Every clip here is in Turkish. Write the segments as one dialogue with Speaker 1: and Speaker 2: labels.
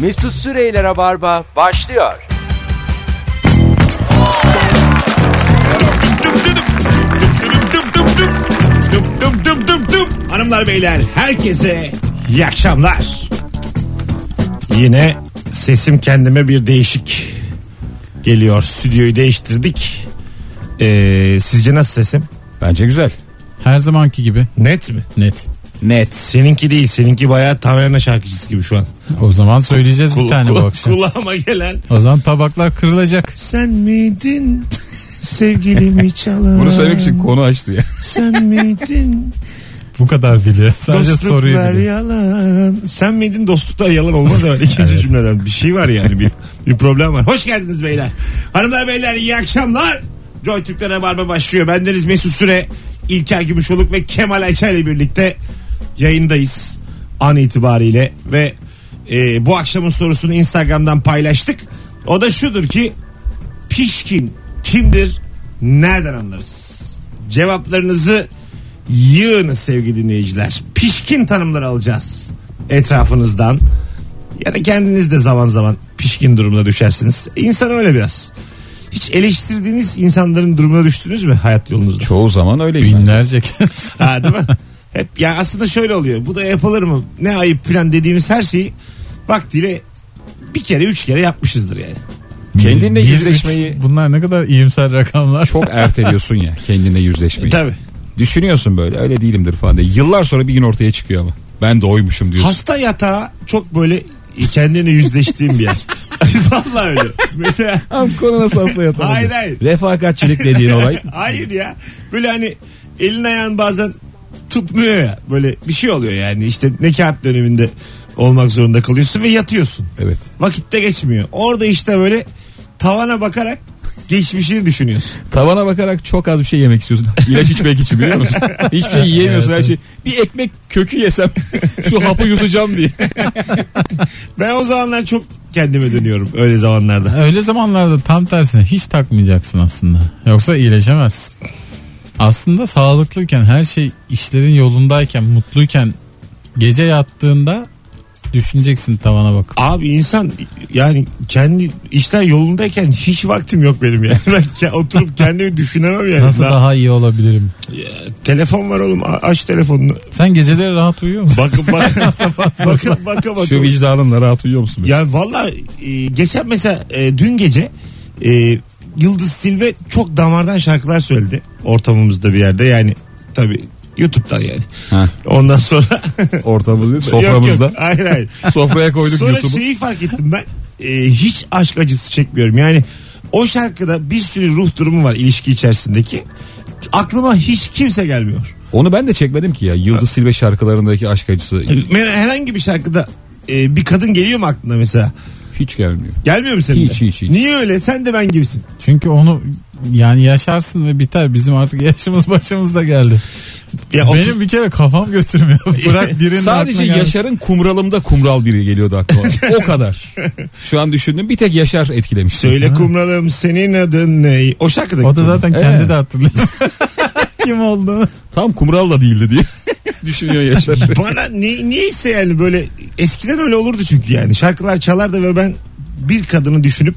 Speaker 1: Mesut Süreyler'e barba başlıyor.
Speaker 2: Dum dum dum dum. Hanımlar beyler herkese iyi akşamlar. Yine sesim kendime bir değişik geliyor. Stüdyoyu değiştirdik. Ee, sizce nasıl sesim?
Speaker 3: Bence güzel.
Speaker 4: Her zamanki gibi.
Speaker 2: Net mi?
Speaker 4: Net.
Speaker 3: Net.
Speaker 2: Seninki değil. Seninki bayağı taverna şarkıcısı gibi şu an.
Speaker 4: O zaman söyleyeceğiz
Speaker 2: Kul-
Speaker 4: bir tane bu
Speaker 2: kul-
Speaker 4: akşam.
Speaker 2: Kulağıma gelen.
Speaker 4: O zaman tabaklar kırılacak.
Speaker 2: Sen miydin sevgilimi çalan?
Speaker 3: Bunu söylemek için konu açtı ya.
Speaker 2: Sen miydin
Speaker 4: Bu kadar biliyor. Sadece soruyu
Speaker 2: dostluklar
Speaker 4: biliyor.
Speaker 2: yalan. Sen miydin dostluklar yalan olmaz öyle ikinci cümleden. Bir şey var yani bir, bir problem var. Hoş geldiniz beyler. Hanımlar beyler iyi akşamlar. Joy Türk'te Rabarba başlıyor. Bendeniz Mesut Süre, İlker Gümüşoluk ve Kemal Ayça ile birlikte yayındayız an itibariyle ve e, bu akşamın sorusunu Instagram'dan paylaştık. O da şudur ki pişkin kimdir nereden anlarız? Cevaplarınızı yığınız sevgili dinleyiciler. Pişkin tanımları alacağız etrafınızdan. Ya da kendiniz de zaman zaman pişkin durumuna düşersiniz. İnsan öyle biraz. Hiç eleştirdiğiniz insanların durumuna düştünüz mü hayat yolunuzda?
Speaker 3: Çoğu zaman öyleyim. ben.
Speaker 4: Binlerce kez.
Speaker 2: Ha değil mi? Hep ya aslında şöyle oluyor. Bu da yapılır mı? Ne ayıp filan dediğimiz her şeyi vaktiyle bir kere üç kere yapmışızdır yani.
Speaker 3: Kendinle
Speaker 4: Bir, üç,
Speaker 3: yüzleşmeyi
Speaker 4: bunlar ne kadar iyimser rakamlar.
Speaker 3: çok erteliyorsun ya kendinle
Speaker 2: E,
Speaker 3: yüzleşmeyi.
Speaker 2: tabii.
Speaker 3: Düşünüyorsun böyle öyle değilimdir falan diye. Yıllar sonra bir gün ortaya çıkıyor ama. Ben de oymuşum diyorsun.
Speaker 2: Hasta yatağı çok böyle kendine yüzleştiğim bir yer. Vallahi öyle. Mesela
Speaker 3: Abi konu nasıl hasta yatağı?
Speaker 2: Hayır, hayır.
Speaker 3: Refakatçilik dediğin olay.
Speaker 2: hayır ya. Böyle hani elin ayağın bazen tutmuyor ya. Böyle bir şey oluyor yani. İşte nekat döneminde olmak zorunda kalıyorsun ve yatıyorsun.
Speaker 3: Evet.
Speaker 2: Vakitte geçmiyor. Orada işte böyle tavana bakarak geçmişini düşünüyorsun.
Speaker 3: Tavana bakarak çok az bir şey yemek istiyorsun. İlaç içmek için biliyor musun? Hiçbir şey yiyemiyorsun
Speaker 4: Evet,
Speaker 3: her şey. Bir ekmek kökü yesem şu hapı yutacağım diye.
Speaker 2: Ben o zamanlar çok kendime dönüyorum öyle zamanlarda.
Speaker 4: Öyle zamanlarda tam tersine hiç takmayacaksın aslında. Yoksa iyileşemezsin. Aslında sağlıklıyken her şey işlerin yolundayken mutluyken gece yattığında düşüneceksin tavana bakıp.
Speaker 2: Abi insan yani kendi işler yolundayken hiç vaktim yok benim yani. Ben ke- oturup kendimi düşünemem yani.
Speaker 4: Nasıl
Speaker 2: Daha-
Speaker 4: daha iyi olabilirim?
Speaker 2: Ya, telefon var oğlum A- aç telefonunu.
Speaker 4: Sen geceleri rahat uyuyor musun?
Speaker 2: Bakın bak. bakın bakın bakın.
Speaker 3: Şu vicdanınla rahat uyuyor musun?
Speaker 2: Ya valla e, geçen mesela e, dün gece e, Yıldız Silve çok damardan şarkılar söyledi ortamımızda bir yerde yani tabi YouTube'dan yani.
Speaker 3: Ha.
Speaker 2: Ondan sonra
Speaker 3: Ortamızda,
Speaker 2: Yok, yok.
Speaker 3: soframızda.
Speaker 2: hayır hayır.
Speaker 3: Sofraya koyduk
Speaker 2: Sonra
Speaker 3: YouTube'u.
Speaker 2: şeyi fark ettim ben e, hiç aşk acısı çekmiyorum. Yani o şarkıda bir sürü ruh durumu var ilişki içerisindeki. Aklıma hiç kimse gelmiyor.
Speaker 3: Onu ben de çekmedim ki ya. Yıldız Silve şarkılarındaki aşk acısı
Speaker 2: Mer- Herhangi bir şarkıda e, bir kadın geliyor mu aklına mesela?
Speaker 3: hiç gelmiyor.
Speaker 2: Gelmiyor mu senin
Speaker 3: Hiç,
Speaker 2: de?
Speaker 3: hiç, hiç.
Speaker 2: Niye öyle? Sen de ben gibisin.
Speaker 4: Çünkü onu yani yaşarsın ve biter. Bizim artık yaşımız başımızda geldi.
Speaker 2: Ya otuz-
Speaker 4: Benim bir kere kafam götürmüyor. Bırak birinin
Speaker 3: Sadece
Speaker 4: aklına gelsin.
Speaker 3: Yaşar'ın kumralımda kumral biri geliyordu aklıma. o kadar. Şu an düşündüm bir tek Yaşar etkilemiş.
Speaker 2: Söyle kumralım senin adın ne? O şarkıda.
Speaker 4: O da zaten kendi
Speaker 3: Ee.
Speaker 4: de hatırlıyor. Kim olduğunu.
Speaker 3: Tam kumral da değildi diye düşünüyor Yaşar.
Speaker 2: Bana ni, niyeyse yani böyle eskiden öyle olurdu çünkü yani. Şarkılar çalardı ve ben bir kadını düşünüp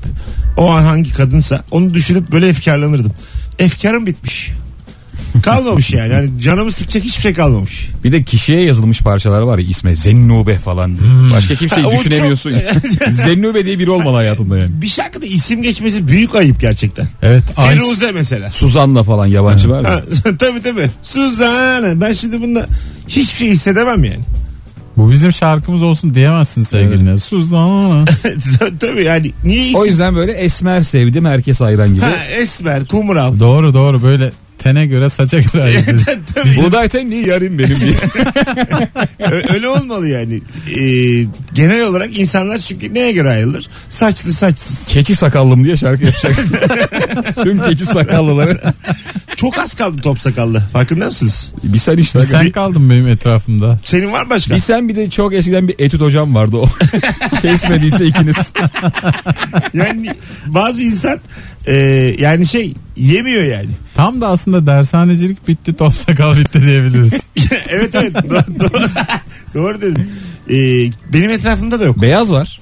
Speaker 2: o an hangi kadınsa onu düşünüp böyle efkarlanırdım. Efkarım bitmiş. Kalmamış yani. yani canımı sıkacak hiçbir şey kalmamış.
Speaker 3: bir de kişiye yazılmış parçalar var ya isme Zennube falan diye. Başka kimseyi
Speaker 2: Hmm. Ha, o çok-
Speaker 3: düşünemiyorsun. ya. Zennube diye biri olmalı hayatında yani.
Speaker 2: Bir şarkıda isim geçmesi büyük ayıp gerçekten.
Speaker 4: Evet. Ay,
Speaker 2: Firuze mesela.
Speaker 3: Suzan'la falan yabancı var
Speaker 2: Ha,
Speaker 3: ya.
Speaker 2: tabii tabii. Suzan. Ben şimdi bunda hiçbir şey hissedemem yani.
Speaker 4: bu bizim şarkımız olsun diyemezsin sevgiline. Suzan.
Speaker 2: tabii yani niye isim?
Speaker 3: O yüzden böyle esmer sevdim herkes ayran gibi.
Speaker 2: Ha, esmer, kumral.
Speaker 4: doğru doğru böyle tene göre saça göre ayırırız.
Speaker 2: tabii.
Speaker 3: Buğday tenli yarım benim diye.
Speaker 2: Ö- Öyle olmalı yani. Ee, genel olarak insanlar çünkü neye göre ayrılır? Saçlı saçsız.
Speaker 3: keçi sakallım diye şarkı yapacaksın. Tüm keçi sakallıları.
Speaker 2: Çok az kaldı top sakallı. Farkında mısınız?
Speaker 3: Bir sen işte. Bir
Speaker 4: Sen
Speaker 3: sen,
Speaker 4: kaldın benim etrafımda.
Speaker 2: Senin var mı başka?
Speaker 3: bir de çok eskiden bir etüt hocam vardı o. Kesmediyse ikiniz.
Speaker 2: Yani bazı insan e, yani şey yemiyor yani.
Speaker 4: Tam da aslında dershanecilik bitti top sakal bitti diyebiliriz.
Speaker 2: evet evet. Do- do- Doğru dedim. Ee, benim etrafımda da yok.
Speaker 3: Beyaz var.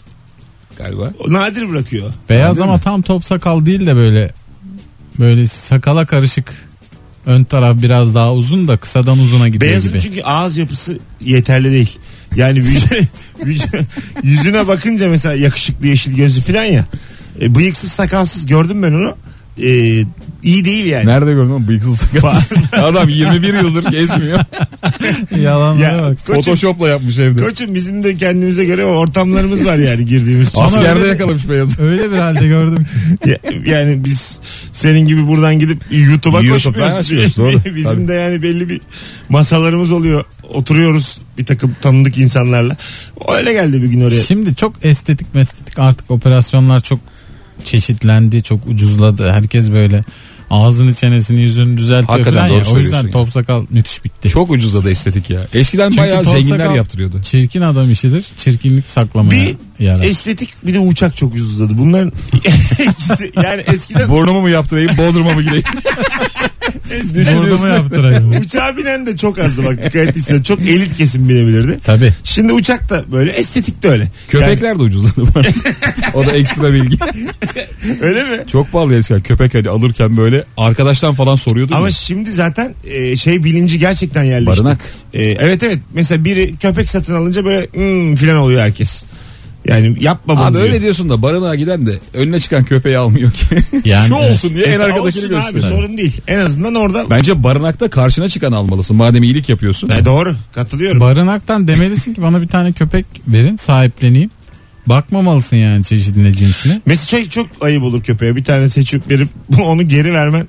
Speaker 3: galiba.
Speaker 2: Nadir bırakıyor.
Speaker 4: Beyaz
Speaker 3: Değil
Speaker 4: ama
Speaker 3: mi?
Speaker 4: tam top sakal değil de böyle böyle sakala karışık. Ön taraf biraz daha uzun da kısadan uzuna gidiyor
Speaker 2: Beyazın
Speaker 4: gibi.
Speaker 2: çünkü ağız yapısı yeterli değil. Yani vüc- vüc- yüzüne bakınca mesela yakışıklı yeşil gözlü falan ya. E, bıyıksız sakalsız gördüm ben onu. E, iyi değil yani.
Speaker 3: Nerede gördün oğlum bıyıksız sakalsız? Adam 21 yıldır gezmiyor.
Speaker 2: Ya,
Speaker 4: Yalanlara bak.
Speaker 2: koçum,
Speaker 3: Photoshop'la yapmış evde.
Speaker 2: koçum bizim de kendimize göre ortamlarımız var yani girdiğimiz.
Speaker 4: Ama
Speaker 3: Askerde
Speaker 4: öyle-
Speaker 3: yakalamış beyazı.
Speaker 4: Öyle bir halde gördüm.
Speaker 2: Ya- yani biz senin gibi buradan gidip YouTube'a
Speaker 3: YouTube'dan
Speaker 2: koşmuyoruz.
Speaker 3: açıyoruz, doğru.
Speaker 2: Bizim
Speaker 3: Tabii.
Speaker 2: de yani belli bir masalarımız oluyor. Oturuyoruz bir takım tanıdık insanlarla. Öyle geldi bir gün oraya.
Speaker 4: Şimdi çok estetik mestetik artık operasyonlar çok çeşitlendi, çok ucuzladı. Herkes böyle ağzını, çenesini, yüzünü düzeltiyor
Speaker 3: Hakikaten
Speaker 4: falan
Speaker 3: doğru
Speaker 4: ya. O yüzden
Speaker 3: söylüyorsun
Speaker 4: top sakal müthiş bitti.
Speaker 3: Çok ucuzladı estetik ya. Eskiden
Speaker 4: Çünkü
Speaker 3: bayağı
Speaker 4: tol
Speaker 3: zenginler
Speaker 4: sakal-
Speaker 3: yaptırıyordu.
Speaker 4: Çirkin adam işidir. Çirkinlik saklamaya
Speaker 2: Bir
Speaker 4: yarar.
Speaker 2: Estetik bir de uçak çok ucuzladı. Bunların ikisi yani eskiden
Speaker 3: E, Burnumu mu yaptırayım, Bodrum'a mı gireyim?
Speaker 2: eskiden
Speaker 4: Burada mı yaptırayım?
Speaker 2: uçağa binen de çok azdı bak dikkat ettiysen çok elit kesim binebilirdi.
Speaker 4: Tabii.
Speaker 2: Şimdi uçak da böyle estetik de öyle.
Speaker 3: Köpekler de ucuzladı. bu arada. o da ekstra bilgi.
Speaker 2: Yani öyle mi?
Speaker 3: Çok pahalı eskiden köpek hani alırken böyle arkadaştan falan soruyordum.
Speaker 2: Ama
Speaker 3: ya.
Speaker 2: şimdi zaten e, şey bilinci gerçekten yerleşti.
Speaker 3: Barınak.
Speaker 2: E, evet evet mesela biri köpek satın alınca böyle hmm, filan oluyor herkes. Yani yapma bunu
Speaker 3: Abi
Speaker 2: diyor.
Speaker 3: öyle diyorsun da barınağa giden de önüne çıkan köpeği almıyor ki.
Speaker 4: Yani
Speaker 3: Şu
Speaker 4: evet.
Speaker 3: olsun diye en
Speaker 2: E,
Speaker 3: arkadakini
Speaker 2: olsun abi
Speaker 3: gösteriyor.
Speaker 2: sorun değil. En azından orada.
Speaker 3: Bence barınakta karşına çıkan almalısın. Madem iyilik yapıyorsun.
Speaker 2: E, doğru katılıyorum.
Speaker 4: Barınaktan demelisin ki bana bir tane köpek verin sahipleneyim. Bakmamalısın yani çeşidine cinsine.
Speaker 2: Mesela çok, çok ayıp olur köpeğe. Bir tane seçip verip onu geri vermen.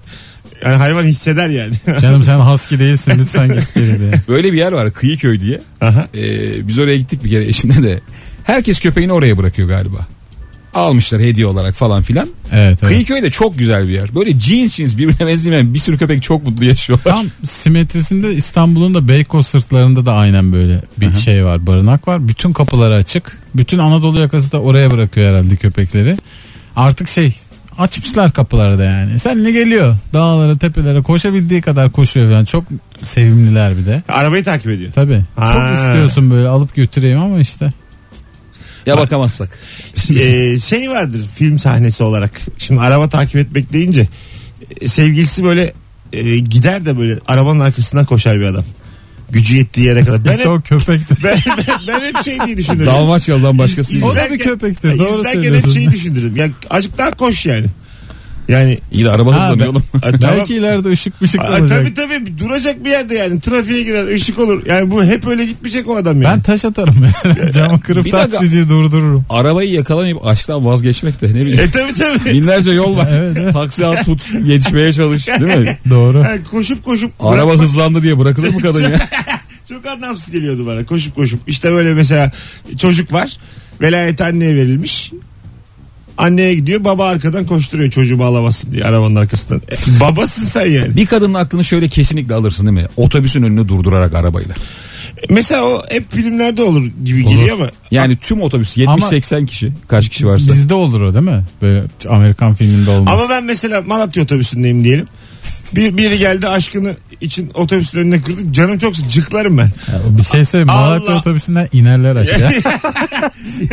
Speaker 2: Yani hayvan hisseder yani.
Speaker 4: Canım sen husky değilsin lütfen git geri de.
Speaker 3: Böyle bir yer var Kıyıköy diye.
Speaker 2: Aha.
Speaker 3: Ee, biz oraya gittik bir kere eşimle de. Herkes köpeğini oraya bırakıyor galiba. Almışlar hediye olarak falan filan.
Speaker 4: Evet, evet.
Speaker 3: Kıyıköy de çok güzel bir yer. Böyle cins cins birbirine benzemeyen bir sürü köpek çok mutlu yaşıyorlar.
Speaker 4: Tam simetrisinde İstanbul'un da Beykoz sırtlarında da aynen böyle bir şey var barınak var. Bütün kapıları açık. Bütün Anadolu yakası da oraya bırakıyor herhalde köpekleri. Artık şey açmışlar kapıları da yani. Sen ne geliyor? Dağlara tepelere koşabildiği kadar koşuyor yani. Çok sevimliler bir de.
Speaker 2: Arabayı takip ediyor.
Speaker 4: Tabii.
Speaker 2: Ha.
Speaker 4: Çok istiyorsun böyle alıp götüreyim ama işte.
Speaker 3: Ya bakamazsak.
Speaker 2: Ee, şey vardır film sahnesi olarak. Şimdi araba takip etmek deyince e, sevgilisi böyle e, gider de böyle arabanın arkasından koşar bir adam. Gücü yettiği yere kadar. Ben
Speaker 4: İşte
Speaker 2: hep,
Speaker 4: o köpektir.
Speaker 2: ben, ben- ben hep şey diye düşünürüm.
Speaker 3: Dalmaçyalı'dan
Speaker 2: İz-
Speaker 3: başkasıyla.
Speaker 4: O da bir
Speaker 2: izlerken-
Speaker 4: köpektir. Doğru
Speaker 2: izlerken
Speaker 4: söylüyorsun.
Speaker 2: hep şeyi düşünürüm. Ya azıcık daha koş yani. Yani
Speaker 3: İyi de araba
Speaker 4: Ha,
Speaker 3: hızlanıyor
Speaker 4: ben-
Speaker 3: oğlum.
Speaker 2: e, tamam.
Speaker 4: Belki ileride ışık mışık
Speaker 2: Aa,
Speaker 4: olacak.
Speaker 2: tabii tabii duracak bir yerde yani trafiğe girer ışık olur. Yani bu hep öyle gitmeyecek o adam
Speaker 4: Ben
Speaker 2: yani.
Speaker 4: taş atarım mesela. Camı kırıp
Speaker 3: Bir dakika.
Speaker 4: taksiciyi durdururum.
Speaker 3: Arabayı yakalamayıp aşktan vazgeçmek de ne bileyim.
Speaker 2: E tabii tabii.
Speaker 3: Binlerce yol var.
Speaker 4: Evet, evet.
Speaker 3: Taksi al tut yetişmeye çalış değil mi?
Speaker 4: Doğru.
Speaker 2: Yani koşup koşup
Speaker 3: Araba
Speaker 2: bırakmak
Speaker 3: hızlandı diye bırakılır mı kadın ya?
Speaker 2: çok anlamsız geliyordu bana koşup koşup. İşte böyle mesela çocuk var velayet anneye verilmiş. Anneye gidiyor baba arkadan koşturuyor çocuğu bağlamasın diye arabanın arkasından. E, babasın sen yani.
Speaker 3: Bir kadının aklını şöyle kesinlikle alırsın değil mi? Otobüsün önünü durdurarak arabayla.
Speaker 2: Mesela o hep filmlerde olur gibi geliyor ama
Speaker 3: Yani tüm otobüs 70-80 kişi. Kaç kişi varsa.
Speaker 4: Bizde olur o değil mi? Böyle Amerikan filminde olmaz.
Speaker 2: Ama ben mesela Malatya otobüsündeyim diyelim. Bir, biri geldi aşkını için otobüsün önüne kırdı. Canım çok sık- cıklarım ben.
Speaker 4: Ya bir şey söyleyeyim.
Speaker 2: Allah.
Speaker 4: Malatya otobüsünden inerler aşağı.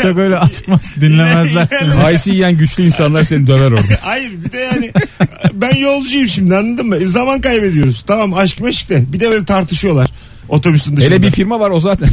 Speaker 4: Çok öyle aşk mask dinlemezler
Speaker 2: İner-
Speaker 4: seni.
Speaker 3: Kayısı yiyen güçlü insanlar seni döver orada.
Speaker 2: Hayır bir de yani ben yolcuyum şimdi anladın mı? E, Zaman kaybediyoruz. Tamam aşk meşk de. Bir de böyle tartışıyorlar otobüsün dışında.
Speaker 3: Hele bir firma var o zaten.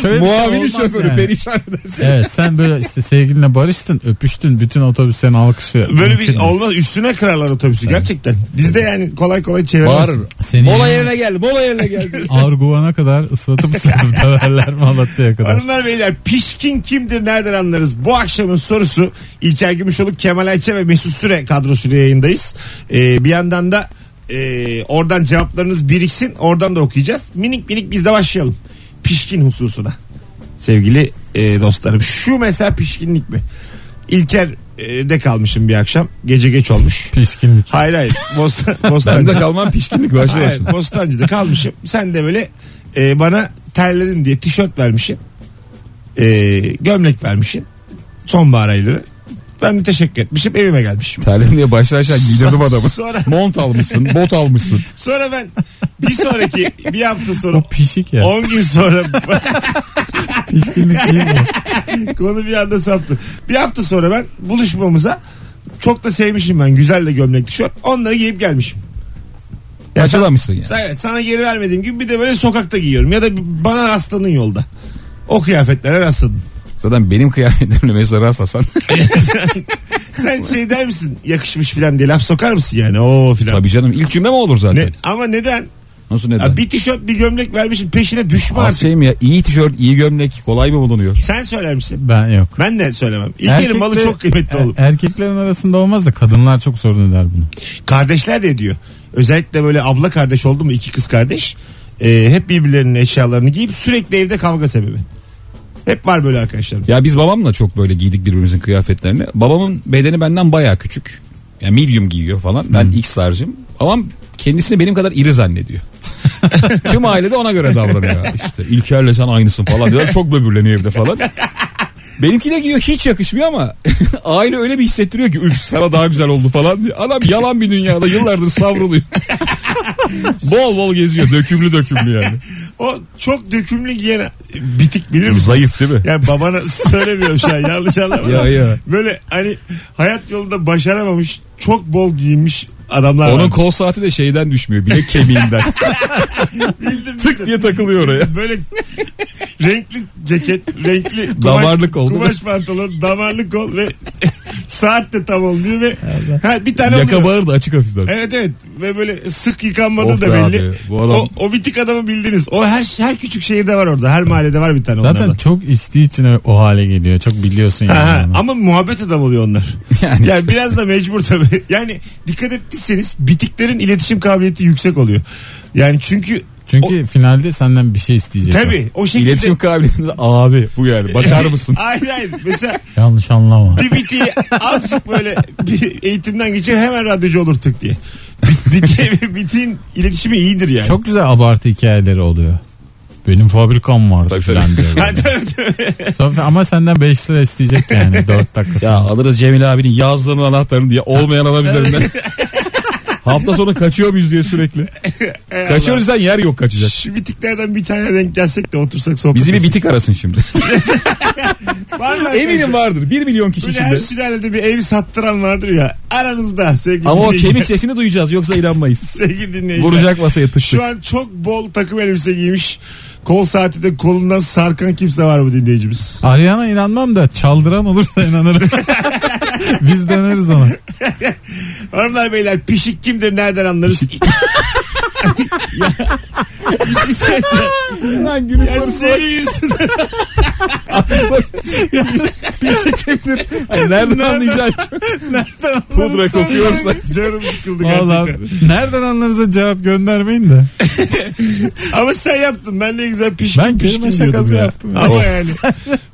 Speaker 4: Şöyle bir şey
Speaker 3: Muavini
Speaker 4: olmaz
Speaker 3: şoförü
Speaker 4: yani.
Speaker 3: perişan edersin.
Speaker 4: Evet sen böyle işte sevgilinle barıştın öpüştün bütün otobüs seni alkışlıyor.
Speaker 2: Böyle
Speaker 4: Mümkün
Speaker 2: bir
Speaker 4: değil.
Speaker 2: olmaz üstüne kırarlar otobüsü gerçekten. Bizde yani kolay kolay çeviremez.
Speaker 3: Bağırır.
Speaker 4: Seni
Speaker 3: Mola yerine gel, mola yerine gel.
Speaker 4: Arguvan'a kadar ıslatıp ıslatıp döverler Malatya'ya kadar.
Speaker 2: Hanımlar beyler pişkin kimdir nereden anlarız? Bu akşamın sorusu İlker Gümüşoluk, Kemal Ayça ve Mesut Süre kadrosuyla yayındayız. Ee, bir yandan da e, oradan cevaplarınız biriksin oradan da okuyacağız. Minik minik biz de başlayalım. Pişkin hususuna sevgili e, dostlarım. Şu mesela pişkinlik mi? İlker e, de kalmışım bir akşam. Gece geç olmuş.
Speaker 4: Pişkinlik.
Speaker 2: Hayır hayır. Bostan,
Speaker 3: Ben de
Speaker 2: Bostancı.
Speaker 3: kalmam pişkinlik başlıyorsun.
Speaker 2: Hayır, Bostancı'da kalmışım. Sen de böyle e, bana terledim diye tişört vermişsin. E, gömlek vermişsin. Sonbahar ayları. Ben de teşekkür etmişim. Evime gelmişim.
Speaker 3: Terledim diye başlı aşağı giydirdim adamı.
Speaker 2: Sonra,
Speaker 3: Mont almışsın, bot almışsın.
Speaker 2: sonra ben bir sonraki bir hafta sonra
Speaker 4: O pişik ya.
Speaker 2: 10 gün sonra
Speaker 4: Pişkinlik değil bu.
Speaker 2: Konu bir anda saptı. Bir hafta sonra ben buluşmamıza çok da sevmişim ben. Güzel de gömlek tişört. Onları giyip gelmişim. Ya sen-
Speaker 3: Açılamışsın yani.
Speaker 2: Sa- Evet sana geri vermediğim gibi bir de böyle sokakta giyiyorum. Ya da bir- bana rastladın yolda. O kıyafetlere rastladın.
Speaker 3: Zaten benim kıyafetlerimle mesela rastlasan.
Speaker 2: Sen şey der misin yakışmış filan diye laf sokar mısın yani? Oo filan.
Speaker 3: Tabii canım ilk cümle mi olur zaten?
Speaker 2: Ne, ama neden?
Speaker 3: Nasıl neden?
Speaker 2: Ya bir tişört bir gömlek vermişsin peşine düşme
Speaker 3: Az
Speaker 2: artık.
Speaker 3: şey mi ya? İyi tişört, iyi gömlek kolay mı bulunuyor?
Speaker 2: Sen söyler misin?
Speaker 4: Ben yok.
Speaker 2: Ben de söylemem. İlk elin malı
Speaker 4: Erkekle-
Speaker 2: çok kıymetli oğlum.
Speaker 4: e- Erkeklerin arasında olmaz da kadınlar çok sorun eder bunu.
Speaker 2: Kardeşler de ediyor. Özellikle böyle abla kardeş oldu mu iki kız kardeş. e, hep birbirlerinin eşyalarını giyip sürekli evde kavga sebebi. Hep var böyle arkadaşlarım.
Speaker 3: Ya biz babamla çok böyle giydik birbirimizin kıyafetlerini. Babamın bedeni benden bayağı küçük. Yani medium giyiyor falan. Ben X large'ım. Babam kendisini benim kadar iri zannediyor. Tüm ailede ona göre davranıyor. İşte İlker'le sen aynısın falan diyorlar. Çok böbürleniyor evde falan. Benimki de giyiyor hiç yakışmıyor ama aile öyle bir hissettiriyor ki üf sana daha güzel oldu falan diye. Adam yalan bir dünyada yıllardır savruluyor. bol bol geziyor dökümlü dökümlü yani.
Speaker 2: O çok dökümlü giyen e, bitik bilir misin?
Speaker 3: Zayıf değil mi?
Speaker 2: Ya babana söylemiyorum şu an yanlış anlama.
Speaker 3: Ya, ya.
Speaker 2: Böyle hani hayat yolunda başaramamış çok bol giyinmiş adamlar
Speaker 3: Onun
Speaker 2: var.
Speaker 3: kol saati de şeyden düşmüyor bilek kemiğinden.
Speaker 2: Bildim,
Speaker 3: Tık
Speaker 2: bildim.
Speaker 3: diye takılıyor oraya.
Speaker 2: Böyle renkli ceket, renkli kumaş,
Speaker 3: Damarlı kol, değil mi?
Speaker 2: kumaş pantolon, damarlı kol ve saat de tam olmuyor ve ha, bir tane
Speaker 3: Yaka
Speaker 2: oluyor.
Speaker 3: bağır da açık hafiften.
Speaker 2: Evet evet ve böyle sık yıkanmadı
Speaker 3: Of
Speaker 2: da
Speaker 3: be
Speaker 2: belli.
Speaker 3: abi, bu adam-
Speaker 2: o, o bitik adamı bildiniz. O her her küçük şehirde var orada. Her mahallede var bir tane
Speaker 4: Zaten
Speaker 2: onlardan.
Speaker 4: çok içtiği için o hale geliyor. Çok biliyorsun yani.
Speaker 2: Aha,
Speaker 4: onu.
Speaker 2: ama muhabbet adam oluyor onlar. Yani,
Speaker 3: Yani
Speaker 2: biraz da mecbur tabii. Yani dikkat ettiyseniz bitiklerin iletişim kabiliyeti yüksek oluyor. Yani çünkü
Speaker 4: Çünkü finalde senden bir şey isteyecek. o.
Speaker 2: tabii o şekilde
Speaker 3: İletişim kabiliyetinde abi bu yani bakar mısın?
Speaker 2: Hayır hayır. Mesela
Speaker 4: Yanlış anlama.
Speaker 2: bir bitiği azıcık böyle bir eğitimden geçer hemen radyocu olur tık diye. Bit, bitiğe- bitiğin iletişimi iyidir yani.
Speaker 4: Çok güzel abartı hikayeleri oluyor. Benim fabrikam vardı
Speaker 3: Tabii,
Speaker 4: filan
Speaker 3: tabii.
Speaker 4: diyor.
Speaker 2: Ha, tabii, tabii.
Speaker 4: Sonra- ama senden 5 lira isteyecek yani 4 dakika sonra.
Speaker 3: ya alırız Cemil abinin yazdığının anahtarını diye olmayan adam üzerinden. Hafta sonu kaçıyor muyuz diye sürekli.
Speaker 2: Ey Allah.
Speaker 3: Kaçıyoruz lan yer yok kaçacak.
Speaker 2: Şu bitiklerden bir tane denk gelsek de otursak sohbet
Speaker 3: Bizi bir
Speaker 2: etsin.
Speaker 3: bitik arasın şimdi.
Speaker 2: Var mı arkadaşlar?
Speaker 3: Eminim vardır 1 milyon kişi
Speaker 2: Böyle her şey
Speaker 3: içinde.
Speaker 2: sülalede bir ev sattıran vardır ya. Aranızda sevgili
Speaker 3: Ama o
Speaker 2: dinleyiciler.
Speaker 3: kemik sesini duyacağız yoksa inanmayız.
Speaker 2: Sevgili dinleyiciler.
Speaker 3: Vuracak masaya
Speaker 2: Şu
Speaker 3: tıklı.
Speaker 2: an çok bol takım elbise giymiş. Kol saati de kolundan sarkan kimse var mı dinleyicimiz?
Speaker 4: Arayana inanmam da çaldıran olursa inanırım. Biz döneriz ona.
Speaker 2: Hanımlar beyler pişik kimdir nereden anlarız? ya, bir şey söyleyeceğim.
Speaker 3: Lan günün
Speaker 2: Ya senin yüzünden
Speaker 3: Ay, nereden anlayacaksın? Pudra kokuyorsa.
Speaker 2: canım sıkıldı
Speaker 4: Vallahi
Speaker 2: gerçekten.
Speaker 4: nereden anlarınıza cevap göndermeyin de.
Speaker 2: Ama sen yaptın. Ben ne güzel pişkin
Speaker 4: Ben
Speaker 2: pişkin
Speaker 4: kelime
Speaker 2: diyordum
Speaker 4: şakası
Speaker 2: ya.
Speaker 4: yaptım ya.
Speaker 2: Ama
Speaker 4: Of.
Speaker 2: yani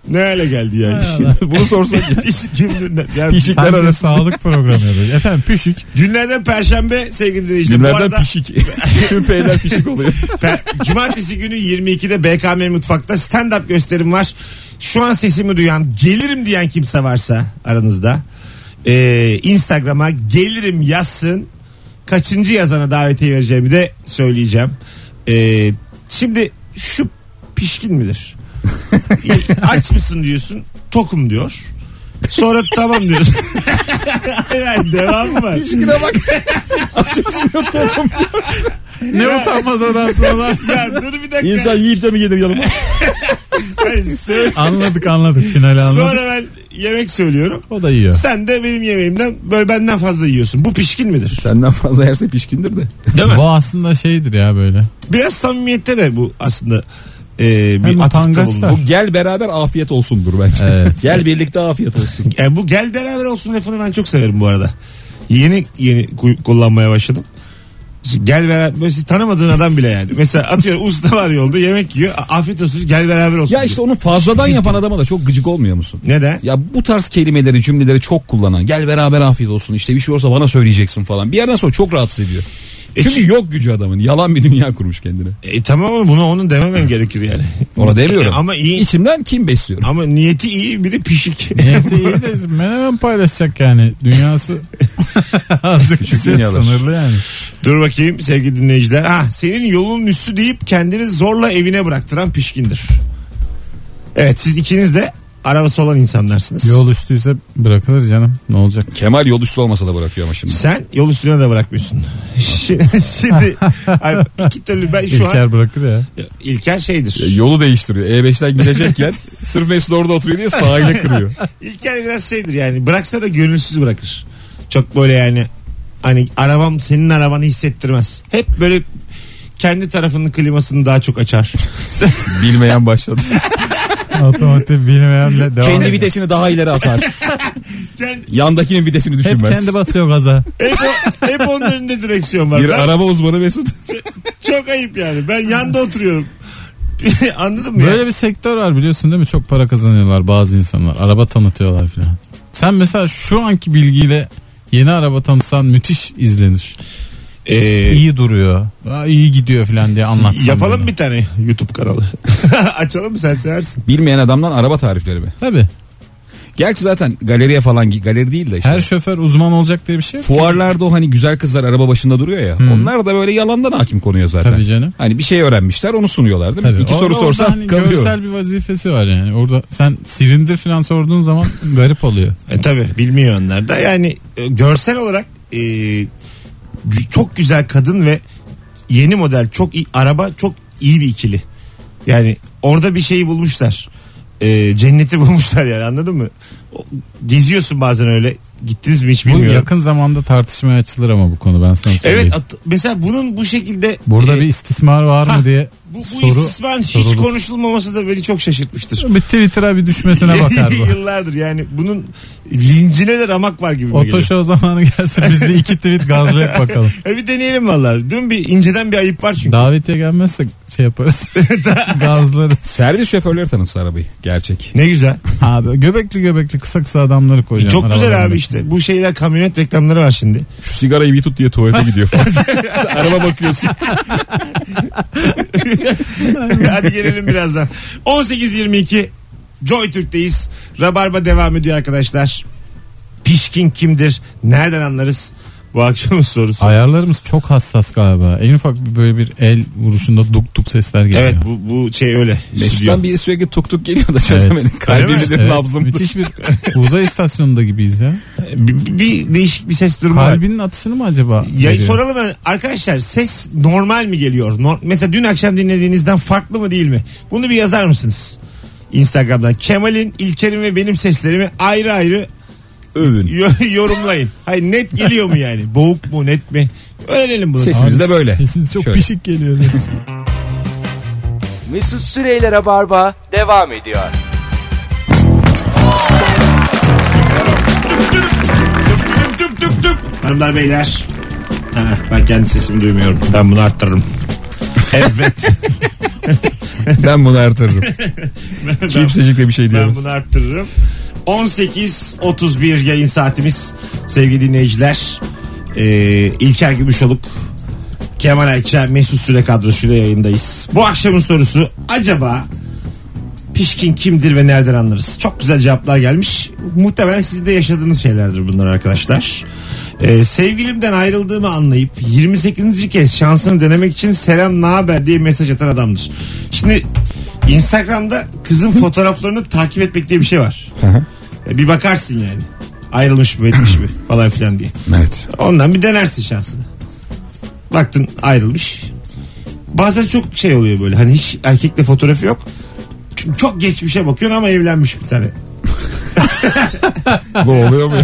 Speaker 2: ne hale geldi yani.
Speaker 3: Bunu sorsak
Speaker 2: Pişik kimdir? ne- Ya,
Speaker 3: Pişikler
Speaker 4: Sanki
Speaker 3: arası.
Speaker 4: sağlık programı yapıyoruz. Efendim püşük.
Speaker 2: Günlerden perşembe sevgili dinleyiciler. Bu
Speaker 3: Günlerden
Speaker 2: arada
Speaker 3: pişik. Tüm peyler pişik oluyor.
Speaker 2: per- cumartesi günü 22'de BKM Mutfak'ta stand-up gösterim var. Şu an sesimi duyan gelirim diyen kimse varsa aranızda e, Instagram'a gelirim yazsın. Kaçıncı yazana davetiye vereceğimi de söyleyeceğim. E, şimdi şu pişkin midir? E, Aç mısın diyorsun. Tokum diyor. Sonra tamam diyorsun. Hayır, hayır, devamı var.
Speaker 3: Pişkine bak. Açıyorsun yok toplum.
Speaker 4: Ne utanmaz adamsın lan.
Speaker 2: Ya dur bir dakika.
Speaker 3: İnsan yiyip de mi gelir yanıma?
Speaker 2: Hayır, söyle.
Speaker 4: Anladık anladık finali anladık.
Speaker 2: Sonra ben yemek söylüyorum.
Speaker 4: O da yiyor.
Speaker 2: Sen de benim yemeğimden böyle benden fazla yiyorsun. Bu pişkin midir?
Speaker 3: Senden fazla yerse pişkindir de.
Speaker 4: Bu aslında şeydir ya böyle.
Speaker 2: Biraz samimiyette de bu aslında e, bir
Speaker 4: Hem
Speaker 2: atıfta
Speaker 4: utangaçlar.
Speaker 2: bulunur.
Speaker 3: Bu gel beraber afiyet olsundur bence.
Speaker 4: Evet.
Speaker 3: Gel birlikte afiyet olsun.
Speaker 2: E, bu gel beraber olsun lafını ben çok severim bu arada. Yeni yeni ku- kullanmaya başladım. Şimdi Gel beraber böyle siz tanımadığın adam bile yani. Mesela atıyorum usta var yolda yemek yiyor. A- Afiyet olsun gel beraber olsun.
Speaker 3: ya işte onu fazladan yapan adama da çok gıcık olmuyor musun?
Speaker 2: diyor. Neden?
Speaker 3: Ya bu tarz kelimeleri cümleleri çok kullanan gel beraber afiyet olsun işte bir şey olursa bana söyleyeceksin falan. Bir yerden sonra çok rahatsız ediyor.
Speaker 2: E
Speaker 3: Çünkü yok gücü adamın yalan bir dünya kurmuş kendine.
Speaker 2: E, tamam oğlum bunu onun dememen gerekir yani.
Speaker 3: Ona demiyorum.
Speaker 2: Ama iyi.
Speaker 3: İçimden kim besliyorum?
Speaker 2: Ama niyeti iyi bir de pişik.
Speaker 4: Niyeti iyi de menemen paylaşacak yani. Dünyası azıcık
Speaker 3: Küçük
Speaker 4: şey,
Speaker 3: dünyalar.
Speaker 4: sınırlı yani.
Speaker 2: Dur bakayım sevgili dinleyiciler. Ah senin yolun üstü deyip kendini zorla evine bıraktıran pişkindir. Evet siz ikiniz de arabası olan insanlarsınız.
Speaker 4: Yol üstüyse bırakılır canım. Ne olacak?
Speaker 3: Kemal yol üstü olmasa da bırakıyor ama şimdi.
Speaker 2: Sen yol üstüne de bırakmıyorsun. Şimdi, şimdi ay, iki türlü ben şu an
Speaker 4: İlker bırakır ya.
Speaker 2: İlker şeydir.
Speaker 3: E, Yolu değiştiriyor. E5'ten gidecekken sırf Mesut orada oturuyor diye sahile kırıyor.
Speaker 2: İlker biraz şeydir yani bıraksa da gönülsüz bırakır. Çok böyle yani hani arabam senin arabanı hissettirmez. Hep böyle kendi tarafının klimasını daha çok açar.
Speaker 3: Bilmeyen başladı.
Speaker 4: Otomatik bilmeyenle devam
Speaker 3: Kendi
Speaker 4: ediyor.
Speaker 3: vitesini daha ileri atar.
Speaker 2: Kendi,
Speaker 3: Yandakinin vitesini
Speaker 4: Hep
Speaker 3: düşünmez.
Speaker 4: kendi basıyor gaza.
Speaker 2: hep, o- hep onun önünde direksiyon var.
Speaker 3: bir
Speaker 2: Ben-
Speaker 3: araba uzmanı Mesut.
Speaker 2: çok ayıp yani. Ben yanda oturuyorum. Anladın mı?
Speaker 4: Böyle
Speaker 2: ya?
Speaker 4: bir sektör var biliyorsun değil mi? Çok para kazanıyorlar bazı insanlar. Araba tanıtıyorlar filan. Sen mesela şu anki bilgiyle yeni araba tanıtsan müthiş izlenir.
Speaker 2: Ee,
Speaker 4: İyi duruyor. Aa, iyi gidiyor filan diye anlatsan.
Speaker 2: yapalım
Speaker 4: böyle.
Speaker 2: bir tane YouTube kanalı. Açalım mı sen seversin.
Speaker 3: Bilmeyen adamdan araba tarifleri mi?
Speaker 4: Tabii.
Speaker 3: Gerçi zaten galeriye falan gi- galeri değil de işte.
Speaker 4: Her şoför uzman olacak diye bir şey yok.
Speaker 3: Fuarlarda o hani güzel kızlar araba başında duruyor ya. Onlar da böyle yalandan hakim konuya zaten.
Speaker 4: Tabii canım.
Speaker 3: Hani bir şey öğrenmişler onu sunuyorlar değil mi?
Speaker 4: Tabii.
Speaker 3: İki
Speaker 4: Orada-
Speaker 3: soru
Speaker 4: orada
Speaker 3: sorsan
Speaker 4: hani
Speaker 3: kalıyor.
Speaker 4: görsel bir vazifesi var yani. Orada sen silindir falan sorduğun zaman garip oluyor.
Speaker 2: E, tabii bilmiyor onlar da. Yani e, görsel olarak e, gü- çok güzel kadın ve yeni model çok iyi, araba çok iyi bir ikili. Yani orada bir şeyi bulmuşlar. E, cenneti bulmuşlar yani anladın mı? O- Geziyorsun bazen öyle. Gittiniz mi hiç
Speaker 4: Bu
Speaker 2: bilmiyorum.
Speaker 4: yakın zamanda tartışmaya açılır ama bu konu ben sana söyleyeyim.
Speaker 2: Evet at- mesela bunun bu şekilde
Speaker 4: Burada
Speaker 2: e,
Speaker 4: bir istismar var
Speaker 2: ha,
Speaker 4: mı diye
Speaker 2: Bu, bu
Speaker 4: soru
Speaker 2: istismarın hiç
Speaker 4: sorulur.
Speaker 2: konuşulmaması da beni çok şaşırtmıştır.
Speaker 4: bir Twitter'a bir düşmesine bakar bu.
Speaker 2: Yıllardır yani bunun lincine de ramak var gibi geliyor.
Speaker 4: Otoşo zamanı gelsin biz bir iki tweet gazlayak bakalım.
Speaker 2: E bir deneyelim vallahi. Dün bir inceden bir ayıp var çünkü.
Speaker 4: Davetiye gelmezse şey yaparız. Gazlarız.
Speaker 3: Servis şoförleri tanıtsa arabayı. Gerçek.
Speaker 2: Ne güzel.
Speaker 4: Abi göbekli göbekli kısa kısa adamları koyacağım.
Speaker 2: Çok güzel
Speaker 4: arabaların
Speaker 2: abi
Speaker 4: içine.
Speaker 2: işte. Bu şeyler kamyonet reklamları var şimdi.
Speaker 3: Şu sigarayı bir tut diye tuvalete gidiyor falan. Sen araba bakıyorsun.
Speaker 2: Hadi gelelim birazdan. 18.22 Joy Türk'teyiz. Rabarba devam ediyor arkadaşlar. Pişkin kimdir? Nereden anlarız? Bu akşamın sorusu.
Speaker 4: Ayarlarımız çok hassas galiba. En ufak bir böyle bir el vuruşunda duk duk sesler geliyor.
Speaker 2: Evet bu, bu şey öyle. Stüdyo.
Speaker 3: Mesut'tan bir sürekli tuk tuk geliyor da çözemedim.
Speaker 2: Öyle mi?
Speaker 3: Kalbimi de
Speaker 4: Evet,
Speaker 3: nabzım.
Speaker 4: müthiş bir uzay istasyonunda gibiyiz ya.
Speaker 2: Bir, bir değişik bir ses durumu var.
Speaker 4: Kalbinin atışını mı acaba?
Speaker 2: Ya
Speaker 4: veriyor?
Speaker 2: soralım ben. arkadaşlar ses normal mi geliyor? Nor- mesela dün akşam dinlediğinizden farklı mı değil mi? Bunu bir yazar mısınız? Instagram'dan Kemal'in, İlker'in ve benim seslerimi ayrı ayrı
Speaker 3: Övün.
Speaker 2: yo- yorumlayın. Hayır net geliyor mu yani? Boğuk mu net mi? Öğrenelim bunu.
Speaker 3: Sesimiz de böyle.
Speaker 4: Sesiniz çok
Speaker 3: Şöyle.
Speaker 4: pişik geliyor.
Speaker 1: Mesut Süreyler'e barba devam ediyor.
Speaker 2: Tüp tüp tüp. Hanımlar beyler. Ha, ben kendi sesimi duymuyorum. Ben bunu arttırırım. Evet.
Speaker 3: Ben bunu artırırım. Kimsecik de bir şey
Speaker 2: Ben
Speaker 3: diyemez.
Speaker 2: bunu arttırırım. 18.31 yayın saatimiz sevgili dinleyiciler. Ee, İlker Gümüşoluk, Kemal Ayça, Mesut Süre kadrosuyla yayındayız. Bu akşamın sorusu acaba pişkin kimdir ve nereden anlarız? Çok güzel cevaplar gelmiş. Muhtemelen sizin de yaşadığınız şeylerdir bunlar arkadaşlar. Ee, sevgilimden ayrıldığımı anlayıp 28. kez şansını denemek için selam ne haber diye mesaj atan adamdır. Şimdi Instagram'da kızın fotoğraflarını takip etmek diye bir şey var. Ee, bir bakarsın yani. Ayrılmış mı etmiş mi falan filan diye.
Speaker 3: Evet.
Speaker 2: Ondan bir denersin şansını. Baktın ayrılmış. Bazen çok şey oluyor böyle hani hiç erkekle fotoğrafı yok. Çünkü çok geçmişe bakıyorsun ama evlenmiş bir tane.
Speaker 3: Bu oluyor mu?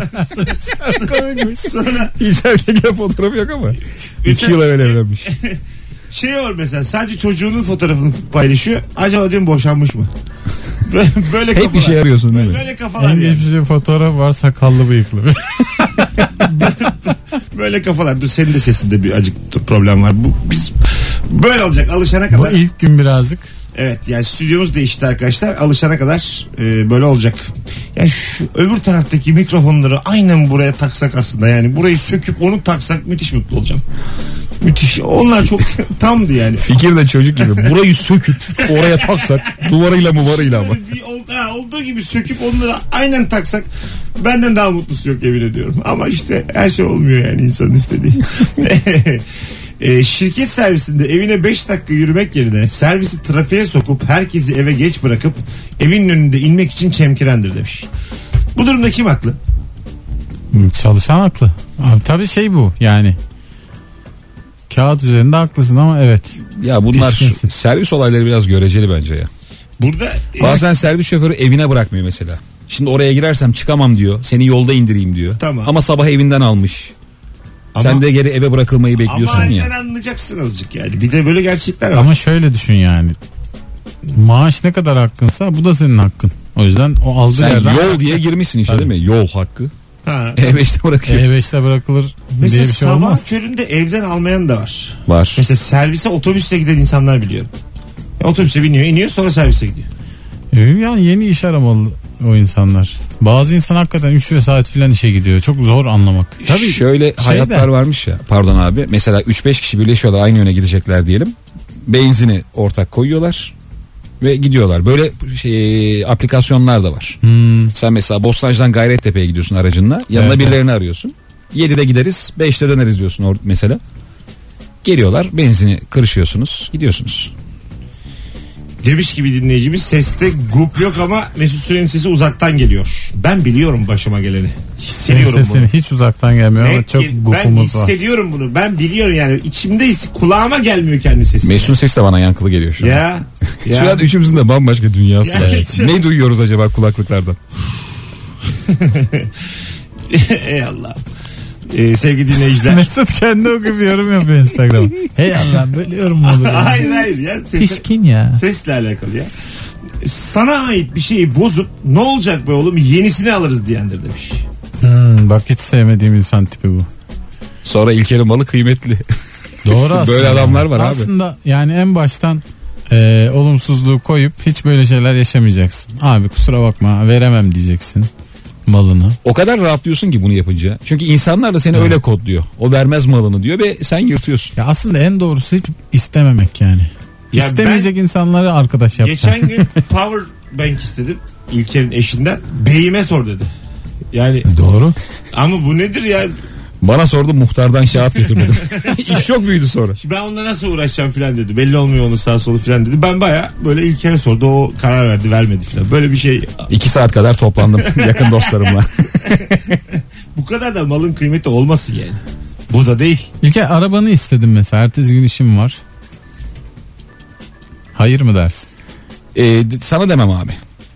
Speaker 2: Sonra
Speaker 3: Hiç erkekle fotoğrafı yok ama. İki
Speaker 2: Mesela-
Speaker 3: yıl evvel evlenmiş.
Speaker 2: şey olur mesela sadece çocuğunun fotoğrafını paylaşıyor. Acaba diyorum boşanmış mı? Böyle, böyle
Speaker 3: Hep bir şey arıyorsun değil mi?
Speaker 2: Böyle kafalar
Speaker 4: en
Speaker 2: yani.
Speaker 4: geçmiş bir fotoğraf var sakallı bıyıklı.
Speaker 2: Böyle kafalar. Dur senin de sesinde bir acık t- problem var. Bu, biz böyle olacak alışana
Speaker 4: Bu
Speaker 2: kadar.
Speaker 4: ilk gün birazcık.
Speaker 2: Evet yani stüdyomuz değişti arkadaşlar. Alışana kadar e, böyle olacak. Ya şu öbür taraftaki mikrofonları aynen buraya taksak aslında. Yani burayı söküp onu taksak müthiş mutlu olacağım. Müthiş. Onlar çok tamdı yani.
Speaker 3: Fikir de çocuk gibi. Burayı söküp oraya taksak duvarıyla muvarıyla ama.
Speaker 2: Böyle bir ol- ha, olduğu gibi söküp onları aynen taksak benden daha mutlusu yok yemin ediyorum. Ama işte her şey olmuyor yani insanın istediği. e, şirket servisinde evine 5 dakika yürümek yerine servisi trafiğe sokup herkesi eve geç bırakıp evin önünde inmek için çemkirendir demiş. Bu durumda kim haklı?
Speaker 4: Çalışan haklı. Abi, tabii şey bu yani. Kağıt üzerinde haklısın ama evet.
Speaker 3: Ya bunlar
Speaker 4: Pişkinsin.
Speaker 3: servis olayları biraz göreceli bence ya.
Speaker 2: Burada e,
Speaker 3: Bazen servis şoförü evine bırakmıyor mesela. Şimdi oraya girersem çıkamam diyor. Seni yolda indireyim diyor.
Speaker 2: Tamam.
Speaker 3: Ama sabah evinden almış.
Speaker 2: ama,
Speaker 3: Sen de geri eve bırakılmayı bekliyorsun
Speaker 2: ama halinden
Speaker 3: ya.
Speaker 2: anlayacaksın azıcık yani. Bir de böyle gerçekler var.
Speaker 4: Ama şöyle düşün yani. Maaş ne kadar hakkınsa bu da senin hakkın. O yüzden o aldığı
Speaker 3: Sen
Speaker 4: yerden
Speaker 3: yol diye girmişsin işte
Speaker 4: Tabii.
Speaker 3: değil mi? Yol hakkı.
Speaker 2: Ha.
Speaker 3: E5'te bırakıyor.
Speaker 4: E5'te E bırakılır diye
Speaker 2: Mesela
Speaker 4: bir şey
Speaker 2: sabah
Speaker 4: olmaz.
Speaker 2: köründe evden almayan da var.
Speaker 3: Var.
Speaker 2: Mesela servise otobüsle giden insanlar biliyorum. Ya Otobüse biniyor, iniyor sonra servise gidiyor.
Speaker 4: E, Yani yeni iş aramalı o insanlar. Bazı insan hakikaten 3 saat filan işe gidiyor. Çok zor anlamak. Tabii şey
Speaker 3: şöyle hayatlar varmış ya. Pardon abi. Mesela 3-5 kişi birleşiyorlar aynı yöne gidecekler diyelim. Benzini ortak koyuyorlar ve gidiyorlar. Böyle şey aplikasyonlar da var. Sen mesela Bostancı'dan Gayrettepe'ye gidiyorsun aracınla. Yanına
Speaker 4: Evet,
Speaker 3: birilerini arıyorsun. 7'de gideriz, 5'te döneriz diyorsun or- mesela. Geliyorlar, benzini kırışıyorsunuz, gidiyorsunuz.
Speaker 2: Demiş gibi dinleyicimiz seste grup yok ama Mesut Süren'in sesi uzaktan geliyor. Ben biliyorum başıma geleni.
Speaker 4: Senin
Speaker 2: Hissediyorum
Speaker 4: sesin
Speaker 2: bunu.
Speaker 4: hiç uzaktan gelmiyor ama
Speaker 2: Net
Speaker 4: çok
Speaker 2: ki- ben
Speaker 4: gukumuz var.
Speaker 2: hissediyorum bunu. Ben biliyorum yani. İçimde his- kulağıma gelmiyor kendi sesi.
Speaker 3: Mesut'un sesi de bana yankılı geliyor şu an.
Speaker 2: Ya.
Speaker 3: Şu
Speaker 2: ya.
Speaker 3: an üçümüzün de bambaşka dünyası
Speaker 2: Ya,
Speaker 3: var.
Speaker 2: evet.
Speaker 3: Ne duyuyoruz acaba kulaklıklardan?
Speaker 2: Ey Allah. Ee, sevgili dinleyiciler.
Speaker 4: Mesut kendi okuyup yorum yapıyor Instagram'a. Hey Allah böyle yorum mu olur? ya?
Speaker 2: hayır hayır ya. Sesi,
Speaker 4: Pişkin ya.
Speaker 2: sesle alakalı ya. Sana ait bir şeyi bozup ne olacak be oğlum yenisini alırız diyendir demiş.
Speaker 4: Hmm, bak hiç sevmediğim insan tipi bu.
Speaker 3: Sonra İlker'in malı kıymetli.
Speaker 4: Doğru aslında.
Speaker 3: Böyle adamlar var abi.
Speaker 4: Aslında yani en baştan e, olumsuzluğu koyup hiç böyle şeyler yaşamayacaksın. Abi kusura bakma veremem diyeceksin malını.
Speaker 3: O kadar rahatlıyorsun ki bunu yapınca. Çünkü insanlar da seni öyle kodluyor. O vermez malını diyor ve sen yırtıyorsun.
Speaker 4: Ya aslında en doğrusu hiç istememek yani.
Speaker 2: Ya ben-
Speaker 4: İstemeyecek insanları arkadaş yapacaksın.
Speaker 2: Geçen gün power bank istedim İlker'in eşinden. Beyime sor dedi. Yani
Speaker 4: Doğru.
Speaker 2: ama bu nedir ya?
Speaker 3: Bana sordu muhtardan kağıt getirmedim. İş çok büyüdü sonra.
Speaker 2: Ben onunla nasıl uğraşacağım filan dedi. Belli olmuyor onun sağ solu filan dedi. Ben baya böyle İlker'e sordu. O karar verdi vermedi filan. Böyle bir şey.
Speaker 3: İki saat kadar toplandım yakın dostlarımla.
Speaker 2: Bu kadar da malın kıymeti olmasın yani. Bu da değil.
Speaker 4: İlke arabanı istedim mesela. Ertesi gün işim var. Hayır mı dersin?
Speaker 3: Ee, d- sana demem abi.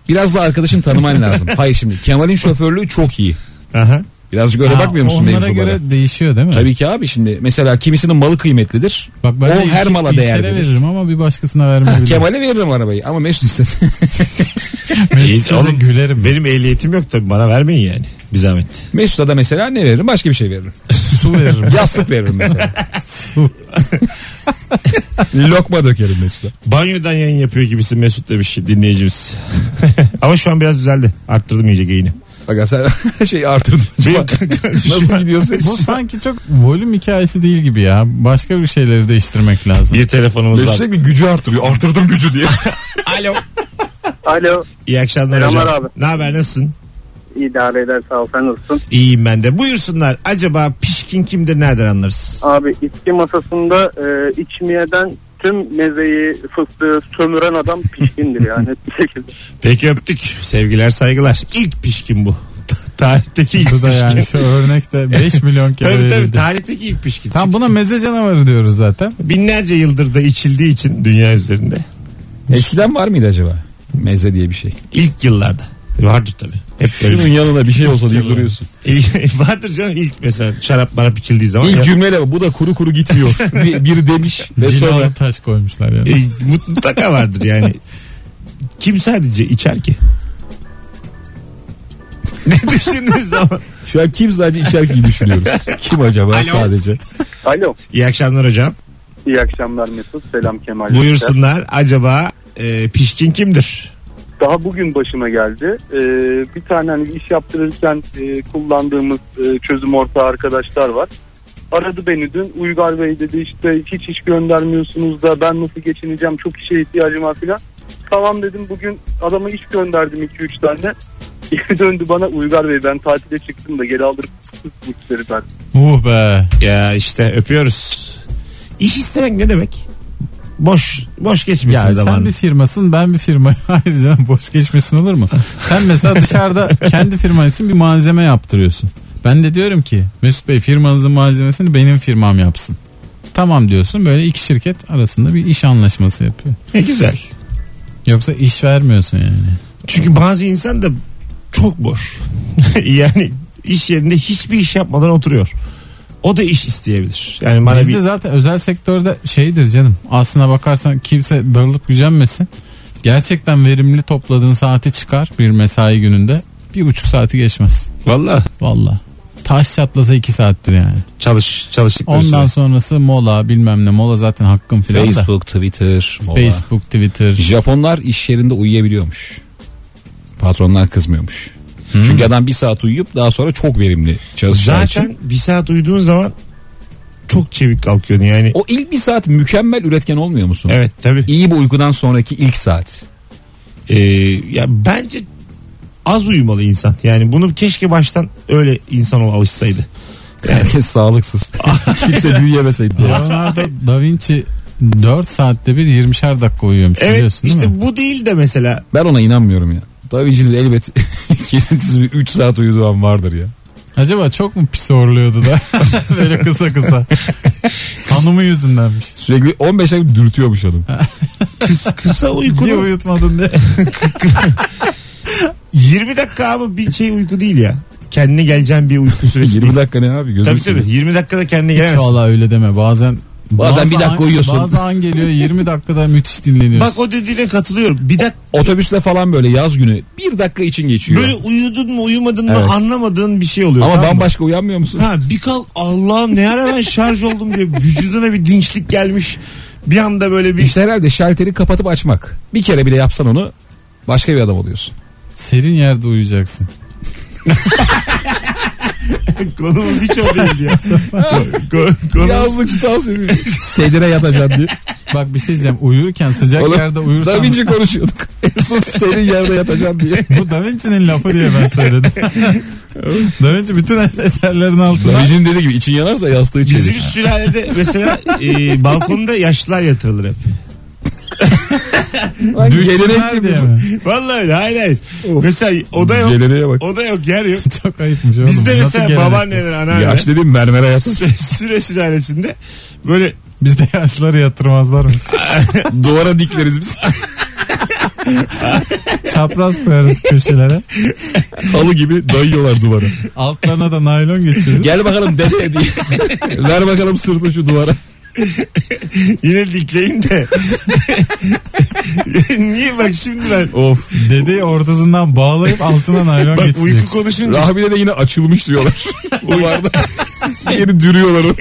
Speaker 3: Biraz da arkadaşın tanıman lazım. Hayır şimdi Kemal'in şoförlüğü çok iyi.
Speaker 2: Aha.
Speaker 3: Birazcık öyle
Speaker 4: Ha,
Speaker 3: bakmıyor musun
Speaker 4: Onlara
Speaker 3: mevzulara?
Speaker 4: göre değişiyor değil mi?
Speaker 3: Tabii ki abi şimdi mesela kimisinin malı kıymetlidir.
Speaker 4: Bak ben
Speaker 3: o
Speaker 4: de
Speaker 3: her
Speaker 4: İlke-
Speaker 3: mala
Speaker 4: İlker'e
Speaker 3: değerlidir.
Speaker 4: veririm ama bir başkasına vermeyebilirim.
Speaker 3: Kemal'e veririm arabayı ama Mesut istesin.
Speaker 4: Mesut'a da
Speaker 2: Oğlum,
Speaker 4: gülerim.
Speaker 2: Benim ehliyetim yok tabii bana vermeyin yani. Bir zahmet.
Speaker 3: Mesut'a da mesela ne veririm? Başka bir şey veririm.
Speaker 4: Su veririm.
Speaker 3: Yastık veririm mesela. Lokma dökerim Mesut'a.
Speaker 2: Banyodan yayın yapıyor gibisin Mesut demiş dinleyicimiz. Ama şu an biraz düzeldi. Arttırdım iyice geyini.
Speaker 3: Aga sen şey artırdın.
Speaker 2: Benim-
Speaker 3: Nasıl gidiyorsun?
Speaker 4: Bu sanki çok volüm hikayesi değil gibi ya. Başka bir şeyleri değiştirmek lazım.
Speaker 2: Bir telefonumuz var.
Speaker 3: Sürekli gücü artırıyor. Artırdım gücü diye.
Speaker 2: Alo.
Speaker 5: Alo.
Speaker 2: İyi akşamlar
Speaker 5: Selamlar
Speaker 2: hocam.
Speaker 5: abi.
Speaker 2: Ne haber nasılsın?
Speaker 5: İdare eder sağ ol sen nasılsın?
Speaker 2: İyiyim ben de. Buyursunlar. Acaba pişkin kimdir nereden anlarız?
Speaker 5: Abi içki masasında e, içmeyeden tüm mezeyi fıstığı sömüren adam pişkindir yani. Bir şekilde.
Speaker 2: Peki öptük. Sevgiler saygılar. İlk pişkin bu. Tarihteki ilk
Speaker 4: Bu
Speaker 2: pişkin.
Speaker 4: da yani şu örnekte 5 milyon kere
Speaker 2: Tabii tabii
Speaker 4: verildi.
Speaker 2: tarihteki ilk pişkin.
Speaker 4: Tam buna meze canavarı diyoruz zaten.
Speaker 2: Binlerce yıldır da içildiği için dünya üzerinde.
Speaker 3: Eskiden var mıydı acaba? Meze diye bir şey.
Speaker 2: İlk yıllarda. Vardır tabii. Hep böyle.
Speaker 3: yanına bir şey olsa diye duruyorsun.
Speaker 2: Vardır canım ilk mesela şarap marap içildiği zaman.
Speaker 3: İlk
Speaker 2: Ya-
Speaker 3: cümleyle bu da kuru kuru gitmiyor. Bir- biri demiş ve sonra
Speaker 4: Cilalı taş koymuşlar yani.
Speaker 2: E, mutlaka vardır yani. Kim sadece içer ki? ne düşündüğünüz zaman.
Speaker 3: şu an kim sadece içerkeyi düşünüyoruz. Kim acaba
Speaker 2: Alo.
Speaker 3: sadece?
Speaker 5: Alo.
Speaker 2: İyi akşamlar hocam.
Speaker 5: İyi akşamlar Mesut. Selam Kemal.
Speaker 2: Buyursunlar. Acaba e, pişkin kimdir?
Speaker 5: Daha bugün başıma geldi. Ee, bir tane hani iş yaptırırken e, kullandığımız e, çözüm ortağı arkadaşlar var. Aradı beni dün Uygar Bey dedi işte hiç iş göndermiyorsunuz da ben nasıl geçineceğim çok işe ihtiyacım var filan. Tamam dedim bugün adama iş gönderdim 2-3 tane. Geri döndü bana Uygar Bey ben tatile çıktım da geri aldırıp bu işleri ben.
Speaker 4: Uh be.
Speaker 2: Ya işte öpüyoruz. İş istemek ne demek? Boş boş geçmesin
Speaker 4: Ya sen
Speaker 2: zamanı.
Speaker 4: bir firmasın ben bir firma. Hayır canım boş geçmesin olur mu? Sen mesela dışarıda kendi firman için bir malzeme yaptırıyorsun. Ben de diyorum ki Mesut Bey firmanızın malzemesini benim firmam yapsın. Tamam diyorsun böyle iki şirket arasında bir iş anlaşması yapıyor.
Speaker 2: Ne güzel.
Speaker 4: Yoksa iş vermiyorsun yani.
Speaker 2: Çünkü bazı insan da çok boş. yani iş yerinde hiçbir iş yapmadan oturuyor. O da iş isteyebilir. Yani bana
Speaker 4: Bizde
Speaker 2: bir
Speaker 4: zaten özel sektörde şeydir canım. Aslına bakarsan kimse darılıp gücenmesin. Gerçekten verimli topladığın saati çıkar bir mesai gününde. Bir buçuk saati geçmez.
Speaker 2: valla
Speaker 4: Valla. Taş çatlasa iki saattir yani.
Speaker 2: çalış çalıştıkları
Speaker 4: Ondan
Speaker 2: süre.
Speaker 4: sonrası mola bilmem ne mola zaten hakkım filan da.
Speaker 3: Facebook, Twitter, mola.
Speaker 4: Facebook, Twitter.
Speaker 3: Japonlar iş yerinde uyuyabiliyormuş. Patronlar kızmıyormuş.
Speaker 2: Hmm.
Speaker 3: Çünkü adam bir saat uyuyup daha sonra çok verimli çalışacağı için.
Speaker 2: Zaten bir saat uyuduğun zaman çok çevik kalkıyorsun yani.
Speaker 3: O ilk bir saat mükemmel üretken olmuyor musun?
Speaker 2: Evet tabii.
Speaker 3: İyi bir uykudan sonraki ilk saat.
Speaker 2: Ee, ya bence az uyumalı insan. Yani bunu keşke baştan öyle insan ol alışsaydı.
Speaker 3: Herkes sağlıksız. Kimse büyüyemeseydi.
Speaker 4: Leonardo da Vinci 4 saatte bir 20'şer dakika uyuyormuş
Speaker 2: Evet
Speaker 4: biliyorsun değil mi?
Speaker 2: işte bu değil de mesela
Speaker 3: Ben ona inanmıyorum ya. Tabii ki elbet kesintisiz bir 3 saat uyuduğu an vardır ya.
Speaker 4: Acaba çok mu pis horluyordu da böyle kısa kısa. Hanımı yüzündenmiş.
Speaker 3: Sürekli 15 dakika dürtüyormuş adam.
Speaker 2: kıs- kısa
Speaker 4: Niye
Speaker 2: uykunu
Speaker 4: uyutmadın diye.
Speaker 2: 20 dakika ama bir şey uyku değil ya. Kendine geleceğin bir uyku süresi
Speaker 3: 20
Speaker 2: değil.
Speaker 3: dakika ne abi gözüm
Speaker 2: Tabii tabii
Speaker 3: seveyim.
Speaker 2: 20 dakikada kendine
Speaker 4: Hiç
Speaker 2: gelemezsin.
Speaker 4: valla öyle deme bazen.
Speaker 3: Bazen bir dakika
Speaker 4: an-
Speaker 3: uyuyorsun.
Speaker 4: Bazen an geliyor 20 dakikada müthiş dinleniyorsun.
Speaker 2: Bak o dediğine katılıyorum. Bir dakika
Speaker 3: Otobüsle falan böyle yaz günü bir dakika için geçiyor.
Speaker 2: böyle uyudun mu uyumadın mı
Speaker 3: Evet.
Speaker 2: anlamadığın bir şey oluyor.
Speaker 3: Ama
Speaker 2: tamam mı?
Speaker 3: bambaşka uyanmıyor musun?
Speaker 2: Ha bir kalk Allah'ım ne ara ben şarj oldum diye vücuduna bir dinçlik gelmiş. Bir anda böyle bir
Speaker 3: İşte herhalde şalteri kapatıp açmak. Bir kere bile yapsan onu başka bir adam oluyorsun.
Speaker 4: Serin yerde uyuyacaksın.
Speaker 2: konumuz hiç o değil ya. Ko- konumuz
Speaker 3: Yazlık tavsiye ediyorum. Sedire yatacaksın diye.
Speaker 4: Bak bir şey diyeceğim uyurken sıcak
Speaker 3: Oğlum,
Speaker 4: yerde uyursan.
Speaker 3: Da Vinci konuşuyorduk. En son senin yerde yatacaksın diye.
Speaker 4: Bu Da Vinci'nin lafı diye ben söyledim. da Vinci bütün eserlerin altına.
Speaker 3: Da Vinci'nin dediği gibi için yanarsa yastığı
Speaker 2: Bizim
Speaker 3: çevir.
Speaker 2: sülalede mesela e, balkonda yaşlılar yatırılır hep.
Speaker 3: Lan Gelenek
Speaker 4: Düşsünler
Speaker 3: gibi.
Speaker 4: diye
Speaker 3: bu.
Speaker 4: mi?
Speaker 2: Vallahi öyle hayır hayır. Mesela oda yok.
Speaker 3: Geleneğe bak.
Speaker 2: Oda yok yer yok.
Speaker 4: Çok ayıpmış oğlum.
Speaker 2: Bizde
Speaker 4: Nasıl
Speaker 2: mesela
Speaker 4: gelenek?
Speaker 2: babaanneler
Speaker 3: Yaş
Speaker 2: anneanneler
Speaker 3: dediğim mermere yatar.
Speaker 2: sü- süre sülalesinde böyle
Speaker 4: Bizde yaşlıları yatırmazlarmış.
Speaker 3: Duvara dikleriz biz.
Speaker 4: Çapraz koyarız köşelere.
Speaker 3: Halı gibi dayıyorlar duvara.
Speaker 4: Altlarına da naylon geçiririz.
Speaker 3: Gel bakalım dede diye. Ver bakalım sırtı şu duvara.
Speaker 2: yine dikleyin de. Niye bak şimdi ben
Speaker 3: Of.
Speaker 4: Dedeyi ortasından bağlayıp altına naylon
Speaker 2: bak uyku
Speaker 4: geçireceksin.
Speaker 2: konuşunca
Speaker 3: Rahmi'de de yine açılmış diyorlar. Duvarda. Yeri dürüyorlar onu.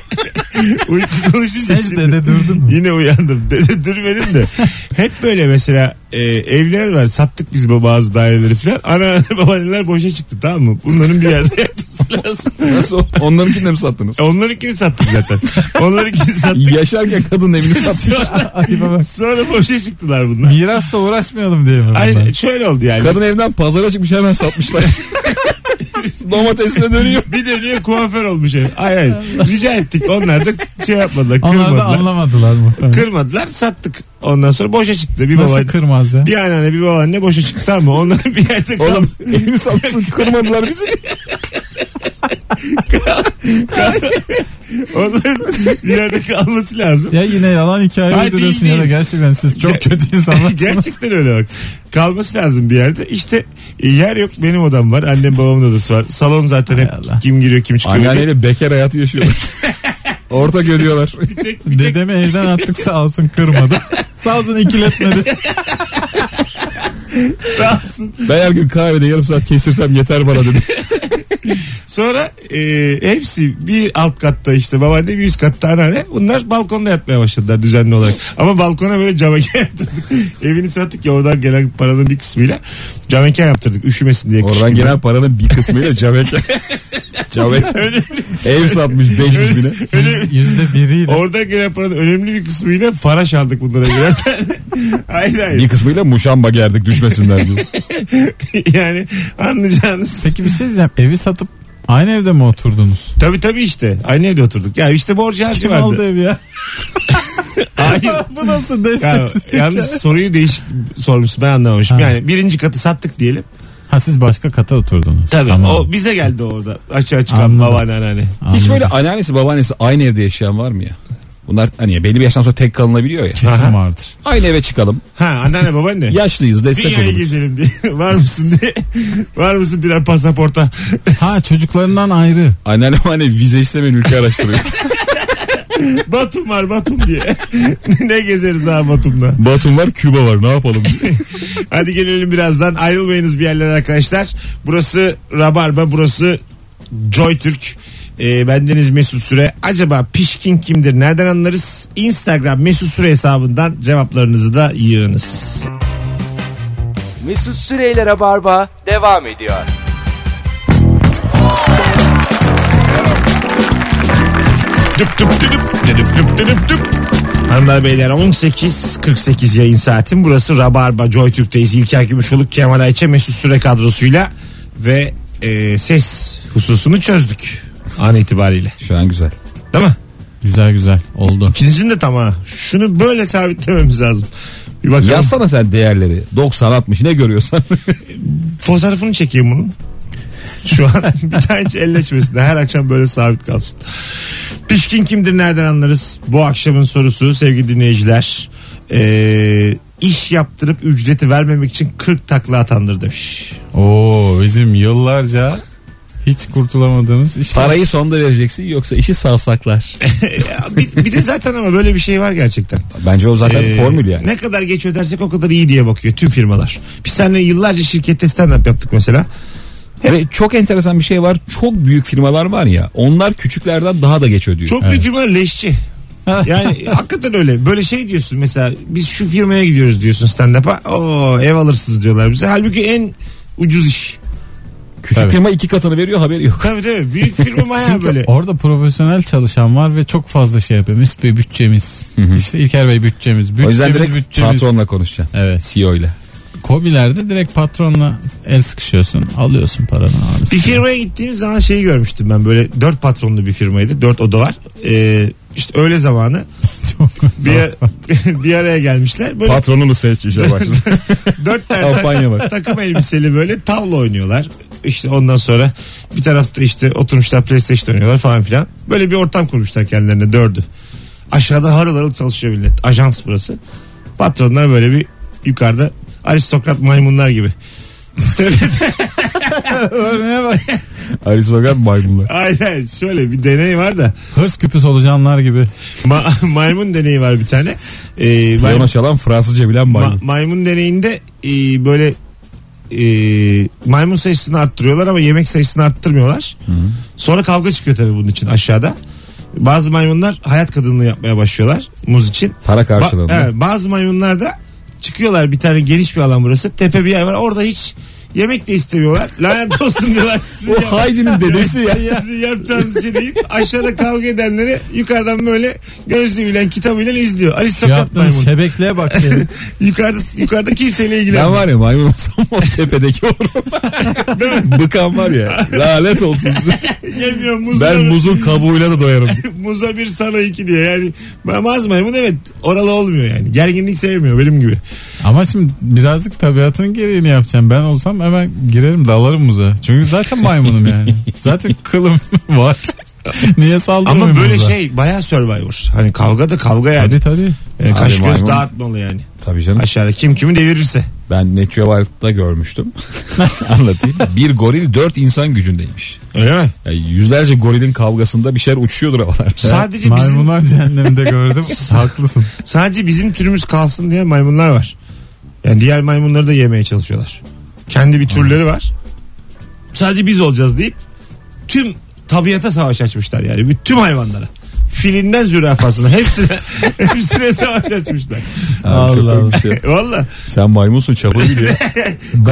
Speaker 2: uyku konuşunca
Speaker 4: Sen
Speaker 2: şimdi.
Speaker 4: dede durdun mu?
Speaker 2: Yine uyandım. Dede durmadım de. Hep böyle mesela e, evler var. Sattık biz bu bazı daireleri falan. Ana babaanneler boşa çıktı tamam mı? Bunların bir yerde yatması lazım.
Speaker 3: Nasıl? E, Onlarınkini de mi sattınız?
Speaker 2: Onlarınkini sattık zaten. Onlarınkini sattık.
Speaker 3: Yaşarken kadın evini sattı.
Speaker 2: Sonra,
Speaker 4: Ayıba bak.
Speaker 2: sonra boşa çıktılar bunlar.
Speaker 4: Mirasla uğraşmayalım diye mi? bunlar?
Speaker 2: Aynen şöyle oldu yani.
Speaker 3: Kadın evden pazara çıkmış hemen satmışlar. Domatesle dönüyor.
Speaker 2: Bir dönüyor kuaför olmuş ev. Ay ay. Rica ettik. Onlar da şey yapmadılar.
Speaker 4: Onlar da
Speaker 2: Kırmadılar.
Speaker 4: anlamadılar muhtemelen.
Speaker 2: Kırmadılar sattık. Ondan sonra boşa çıktı. Bir
Speaker 4: Nasıl
Speaker 2: baba
Speaker 4: kırmaz ya?
Speaker 2: bir anneanne bir babaanne boşa çıktı tamam mı? Onların bir yerde kaldı.
Speaker 3: Oğlum evini satsın kırmadılar bizi.
Speaker 2: Onların bir yerde kalması lazım.
Speaker 4: Ya yine yalan hikaye
Speaker 2: Hayır,
Speaker 4: uyduruyorsun
Speaker 2: değil,
Speaker 4: ya da
Speaker 2: değil.
Speaker 4: gerçekten siz çok kötü insanlarsınız.
Speaker 2: Gerçekten öyle bak. Kalması lazım bir yerde. İşte e, yer yok benim odam var. Annem babamın odası var. Salon zaten hep
Speaker 4: Hay Allah.
Speaker 2: kim giriyor kim çıkıyor. diye.
Speaker 3: Anneanneyle bekar hayatı yaşıyorlar. Orta görüyorlar.
Speaker 4: Dedemi evden attık sağ olsun kırmadı. sağ olsun ikiletmedi.
Speaker 2: Sağ olsun.
Speaker 3: Ben her gün kahvede yarım saat kesirsem yeter bana dedi.
Speaker 2: Sonra e, hepsi bir alt katta işte babaanne bir üst katta anneanne. Bunlar balkonda yatmaya başladılar düzenli olarak. Ama balkona böyle cameke yaptırdık. Evini sattık ya oradan gelen paranın bir kısmıyla cameke yaptırdık üşümesin diye. kış
Speaker 3: Oradan
Speaker 2: günü.
Speaker 3: gelen paranın bir kısmıyla Cavek'e. Cavek ev satmış 500 bine.
Speaker 4: Yüz- Yüzde biriyle.
Speaker 2: Oradan gelen paranın önemli bir kısmıyla faraş aldık bunlara göre. hayır hayır.
Speaker 3: Bir kısmıyla muşamba gerdik düşmesinler diye.
Speaker 2: yani anlayacağınız.
Speaker 4: Peki bir şey diyeceğim. Evi satıp Aynı evde mi oturdunuz?
Speaker 2: Tabii tabii işte. Aynı evde oturduk. Ya işte borcu harcı
Speaker 4: Kim
Speaker 2: vardı.
Speaker 4: aldı evi ya?
Speaker 2: Hayır.
Speaker 4: Bu nasıl
Speaker 2: Ya,
Speaker 4: desteksiz?
Speaker 2: yalnız soruyu değişik sormuşsun ben anlamamışım.
Speaker 4: Ha.
Speaker 2: Yani birinci katı sattık diyelim.
Speaker 4: Ha siz başka kata oturdunuz.
Speaker 2: Tabii.
Speaker 4: Tamam.
Speaker 2: O bize geldi orada. Aşağı çıkan
Speaker 4: Anladım.
Speaker 2: babaanne anneanne.
Speaker 4: Anladım.
Speaker 3: Hiç böyle anneannesi babaannesi aynı evde yaşayan var mı ya? Bunlar hani belli bir yaştan sonra tek kalınabiliyor ya.
Speaker 4: Kesin vardır.
Speaker 3: Aynı eve çıkalım.
Speaker 2: Ha anneanne babaanne.
Speaker 3: Yaşlıyız destek
Speaker 2: Dünyayı
Speaker 3: oluruz.
Speaker 2: gezelim diye. Var mısın diye. Var mısın birer pasaporta?
Speaker 4: Ha çocuklarından ayrı.
Speaker 3: Anneannem hani vize istemeyen ülke araştırıyor.
Speaker 2: Batum var Batum diye. ne gezeriz ha Batum'da.
Speaker 3: Batum var Küba var ne yapalım?
Speaker 2: Hadi gelelim birazdan. Ayrılmayınız bir yerlere arkadaşlar. Burası Rabarba, burası Joy Türk. Ee, bendeniz Mesut Süre. Acaba pişkin kimdir? Nereden anlarız? Instagram Mesut Süre hesabından cevaplarınızı da yığınız.
Speaker 1: Mesut Süreyler'e barba devam ediyor.
Speaker 2: Düp düp düdüp, düdüp düp düdüp düp. Hanımlar beyler 18.48 yayın saatim. Burası Rabarba Joy Türk'teyiz. İlker Gümüşoluk, Kemal Ayça, Mesut Süre kadrosuyla ve e, ses hususunu çözdük an itibariyle.
Speaker 3: Şu an güzel.
Speaker 2: Değil mi?
Speaker 4: Güzel güzel oldu.
Speaker 2: İkinizin de tamam. Şunu böyle sabitlememiz lazım. Bir bakalım.
Speaker 3: Yazsana sen değerleri. 90 60 ne görüyorsan.
Speaker 2: Fotoğrafını çekeyim bunun. Şu an bir tane hiç elleşmesin. Her akşam böyle sabit kalsın. Pişkin kimdir nereden anlarız? Bu akşamın sorusu sevgili dinleyiciler. Ee, iş yaptırıp ücreti vermemek için 40 takla atandır demiş.
Speaker 4: Oo bizim yıllarca hiç kurtulamadığımız işler.
Speaker 3: Parayı sonda vereceksin yoksa işi savsaklar.
Speaker 2: Ya bir, bir de zaten ama böyle bir şey var gerçekten.
Speaker 3: Bence o zaten
Speaker 2: Ee,
Speaker 3: formül yani.
Speaker 2: Ne kadar geç ödersek o kadar iyi diye bakıyor tüm firmalar. Biz seninle yıllarca şirkette stand-up yaptık mesela.
Speaker 3: Ve çok enteresan bir şey var. Çok büyük firmalar var ya. Onlar küçüklerden daha da geç ödüyor.
Speaker 2: Çok büyük firmalar leşçi. Yani hakikaten öyle. Böyle şey diyorsun mesela biz şu firmaya gidiyoruz diyorsun stand-up'a. Oo ev alırsınız diyorlar bize. Halbuki en ucuz iş.
Speaker 3: Küçük
Speaker 4: Tabii.
Speaker 3: firma iki katını veriyor haberi yok.
Speaker 2: Tabii tabii. Büyük firma bayağı
Speaker 4: Çünkü
Speaker 2: böyle.
Speaker 4: orada profesyonel çalışan var ve çok fazla şey yapıyor. Mesut Bey bütçemiz. İşte İlker Bey bütçemiz. Bütçemiz,
Speaker 3: o yüzden direkt
Speaker 4: bütçemiz.
Speaker 3: patronla konuşacaksın.
Speaker 4: Evet.
Speaker 3: CEO ile.
Speaker 4: Kobilerde direkt patronla el sıkışıyorsun. Alıyorsun paranı abi.
Speaker 2: Bir firmaya gittiğim zaman şeyi görmüştüm ben böyle dört patronlu bir firmaydı. Dört oda var. Ee, işte öğle zamanı
Speaker 4: Çok
Speaker 2: bir, bir araya gelmişler. Böyle
Speaker 3: Patronunu seç işe başladı.
Speaker 2: dört tane
Speaker 3: Kampanya var.
Speaker 2: takım elbiseli böyle tavla oynuyorlar. İşte ondan sonra bir tarafta işte oturmuşlar PlayStation oynuyorlar falan filan. Böyle bir ortam kurmuşlar kendilerine dördü. Aşağıda harıl harıl çalışıyor millet. Ajans burası. Patronlar böyle bir yukarıda aristokrat maymunlar gibi.
Speaker 4: Örneğe bak.
Speaker 3: Aristokrat maymunlar.
Speaker 2: Aynen şöyle bir deney var da.
Speaker 4: Hırs küpü solucanlar gibi.
Speaker 2: Ma- maymun deneyi var bir tane. Ee, may-
Speaker 3: Piyano çalan Fransızca bilen
Speaker 2: ma-
Speaker 3: maymun.
Speaker 2: maymun deneyinde e, böyle e, maymun sayısını arttırıyorlar ama yemek sayısını arttırmıyorlar. Sonra kavga çıkıyor tabii bunun için aşağıda. Bazı maymunlar hayat kadınlığı yapmaya başlıyorlar muz için.
Speaker 3: Para
Speaker 2: Ba-
Speaker 3: karşılığında.
Speaker 2: evet, bazı maymunlar da çıkıyorlar bir tane geniş bir alan burası. Tepe bir yer var. Orada hiç yemek de istemiyorlar. Lanet olsun diyorlar. Sizin
Speaker 3: Bu
Speaker 2: yap-
Speaker 3: Haydi'nin dedesi ya.
Speaker 2: Sizin yapacağınız şey deyip aşağıda kavga edenleri yukarıdan böyle gözlüğüyle kitabıyla izliyor.
Speaker 4: Şu
Speaker 2: Aristokrat maymun.
Speaker 4: yaptığınız şebekliğe bak yani.
Speaker 2: Yukarıda, yukarıda kimseyle
Speaker 3: Ben
Speaker 2: ilgilenmiyor.
Speaker 3: var ya maymun olsam o tepedeki olurum. Bıkan var ya. Lanet olsun size.
Speaker 2: Yemiyor muzla,
Speaker 3: Ben muzun kabuğuyla da doyarım.
Speaker 2: muza bir sana iki diye. Yani maz maymun evet oralı olmuyor yani. Gerginlik sevmiyor benim gibi.
Speaker 4: Ama şimdi birazcık tabiatın gereğini yapacağım. Ben olsam hemen girerim dalarım muza. Çünkü zaten maymunum yani. zaten kılım var. Niye saldırmıyorum
Speaker 2: Ama böyle
Speaker 4: muza?
Speaker 2: şey bayağı survivor. Hani kavga da kavga yani.
Speaker 4: Tabii tabii.
Speaker 2: Yani
Speaker 3: Abi
Speaker 2: kaş göz
Speaker 3: maymun.
Speaker 2: dağıtmalı yani.
Speaker 3: Tabii canım.
Speaker 2: Aşağıda kim kimi devirirse.
Speaker 3: Ben Neciobalt'ta görmüştüm. Anlatayım. Bir goril dört insan gücündeymiş.
Speaker 2: Öyle mi?
Speaker 3: Yani yüzlerce gorilin kavgasında bir şeyler uçuyordur havalarda.
Speaker 2: Sadece bizim
Speaker 4: Maymunlar cehenneminde gördüm. Haklısın.
Speaker 2: sadece bizim türümüz kalsın diye maymunlar var. Yani diğer maymunları da yemeye çalışıyorlar. Kendi bir türleri var. Sadece biz olacağız deyip tüm tabiata savaş açmışlar yani. Bütün hayvanlara. Filinden zürafasına hepsine, hepsine savaş açmışlar. E,
Speaker 3: Abi çok
Speaker 4: Allah Allah.
Speaker 3: komik şey.
Speaker 2: Valla
Speaker 3: Sen maymunsun çabuk gidiyor.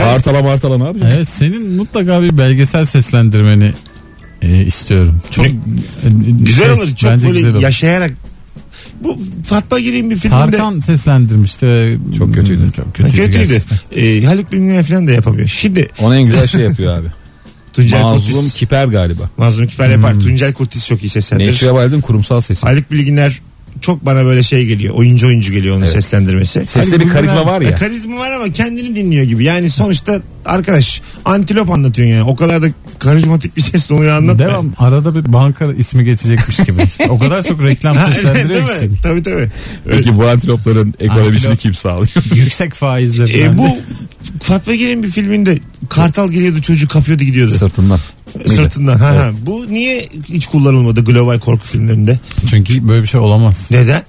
Speaker 3: Artala martala ne yapacaksın?
Speaker 4: Evet senin mutlaka bir belgesel seslendirmeni e, istiyorum. Çok
Speaker 2: Ne-
Speaker 4: e,
Speaker 2: güzel
Speaker 4: şey,
Speaker 2: olur. Çok
Speaker 4: bence
Speaker 2: böyle
Speaker 4: güzel olur.
Speaker 2: yaşayarak. Bu Fatma Gireyim bir filminde.
Speaker 4: Tarkan seslendirmişti.
Speaker 3: Çok kötüydü.
Speaker 4: Hmm, Çok
Speaker 2: Ha,
Speaker 4: kötüydü.
Speaker 2: Kötüydü. E,
Speaker 4: gerçekten.
Speaker 2: Ee, Haluk Bilginer falan da yapamıyor. Şimdi
Speaker 3: Onu en güzel şey yapıyor abi.
Speaker 2: Tuncel
Speaker 3: Mazlum
Speaker 2: Kurtiz.
Speaker 3: Kiper galiba.
Speaker 2: Mazlum Kiper yapar.
Speaker 4: Hmm.
Speaker 2: Tuncel Kurtiz çok iyi seslendirir.
Speaker 3: Nature Wild'ın kurumsal sesi.
Speaker 2: Haluk Bilginer çok bana böyle şey geliyor. Oyuncu oyuncu geliyor onun seslendirmesi.
Speaker 3: Seste bir karizma var ya.
Speaker 2: Karizma var ama kendini dinliyor gibi. Yani sonuçta arkadaş antilop anlatıyorsun yani. O kadar da karizmatik bir ses tonuyla anlatma.
Speaker 4: Devam. Arada bir banka ismi geçecekmiş gibi. o kadar çok reklam
Speaker 2: Ha, değil
Speaker 4: seslendiriyor ki
Speaker 2: mi?
Speaker 4: seni.
Speaker 2: Tabii tabii.
Speaker 3: Peki bu antilopların ekonomisini
Speaker 4: Antilop.
Speaker 3: kim sağlıyor?
Speaker 4: Yüksek faizle
Speaker 2: E,
Speaker 4: falan.
Speaker 2: bu Fatma Gir'in bir filminde kartal giriyordu çocuğu kapıyordu gidiyordu.
Speaker 3: Sırtından.
Speaker 2: Sırtından. Ha, ha. Bu niye hiç kullanılmadı global korku filmlerinde?
Speaker 4: Çünkü böyle bir şey olamaz.
Speaker 2: Neden?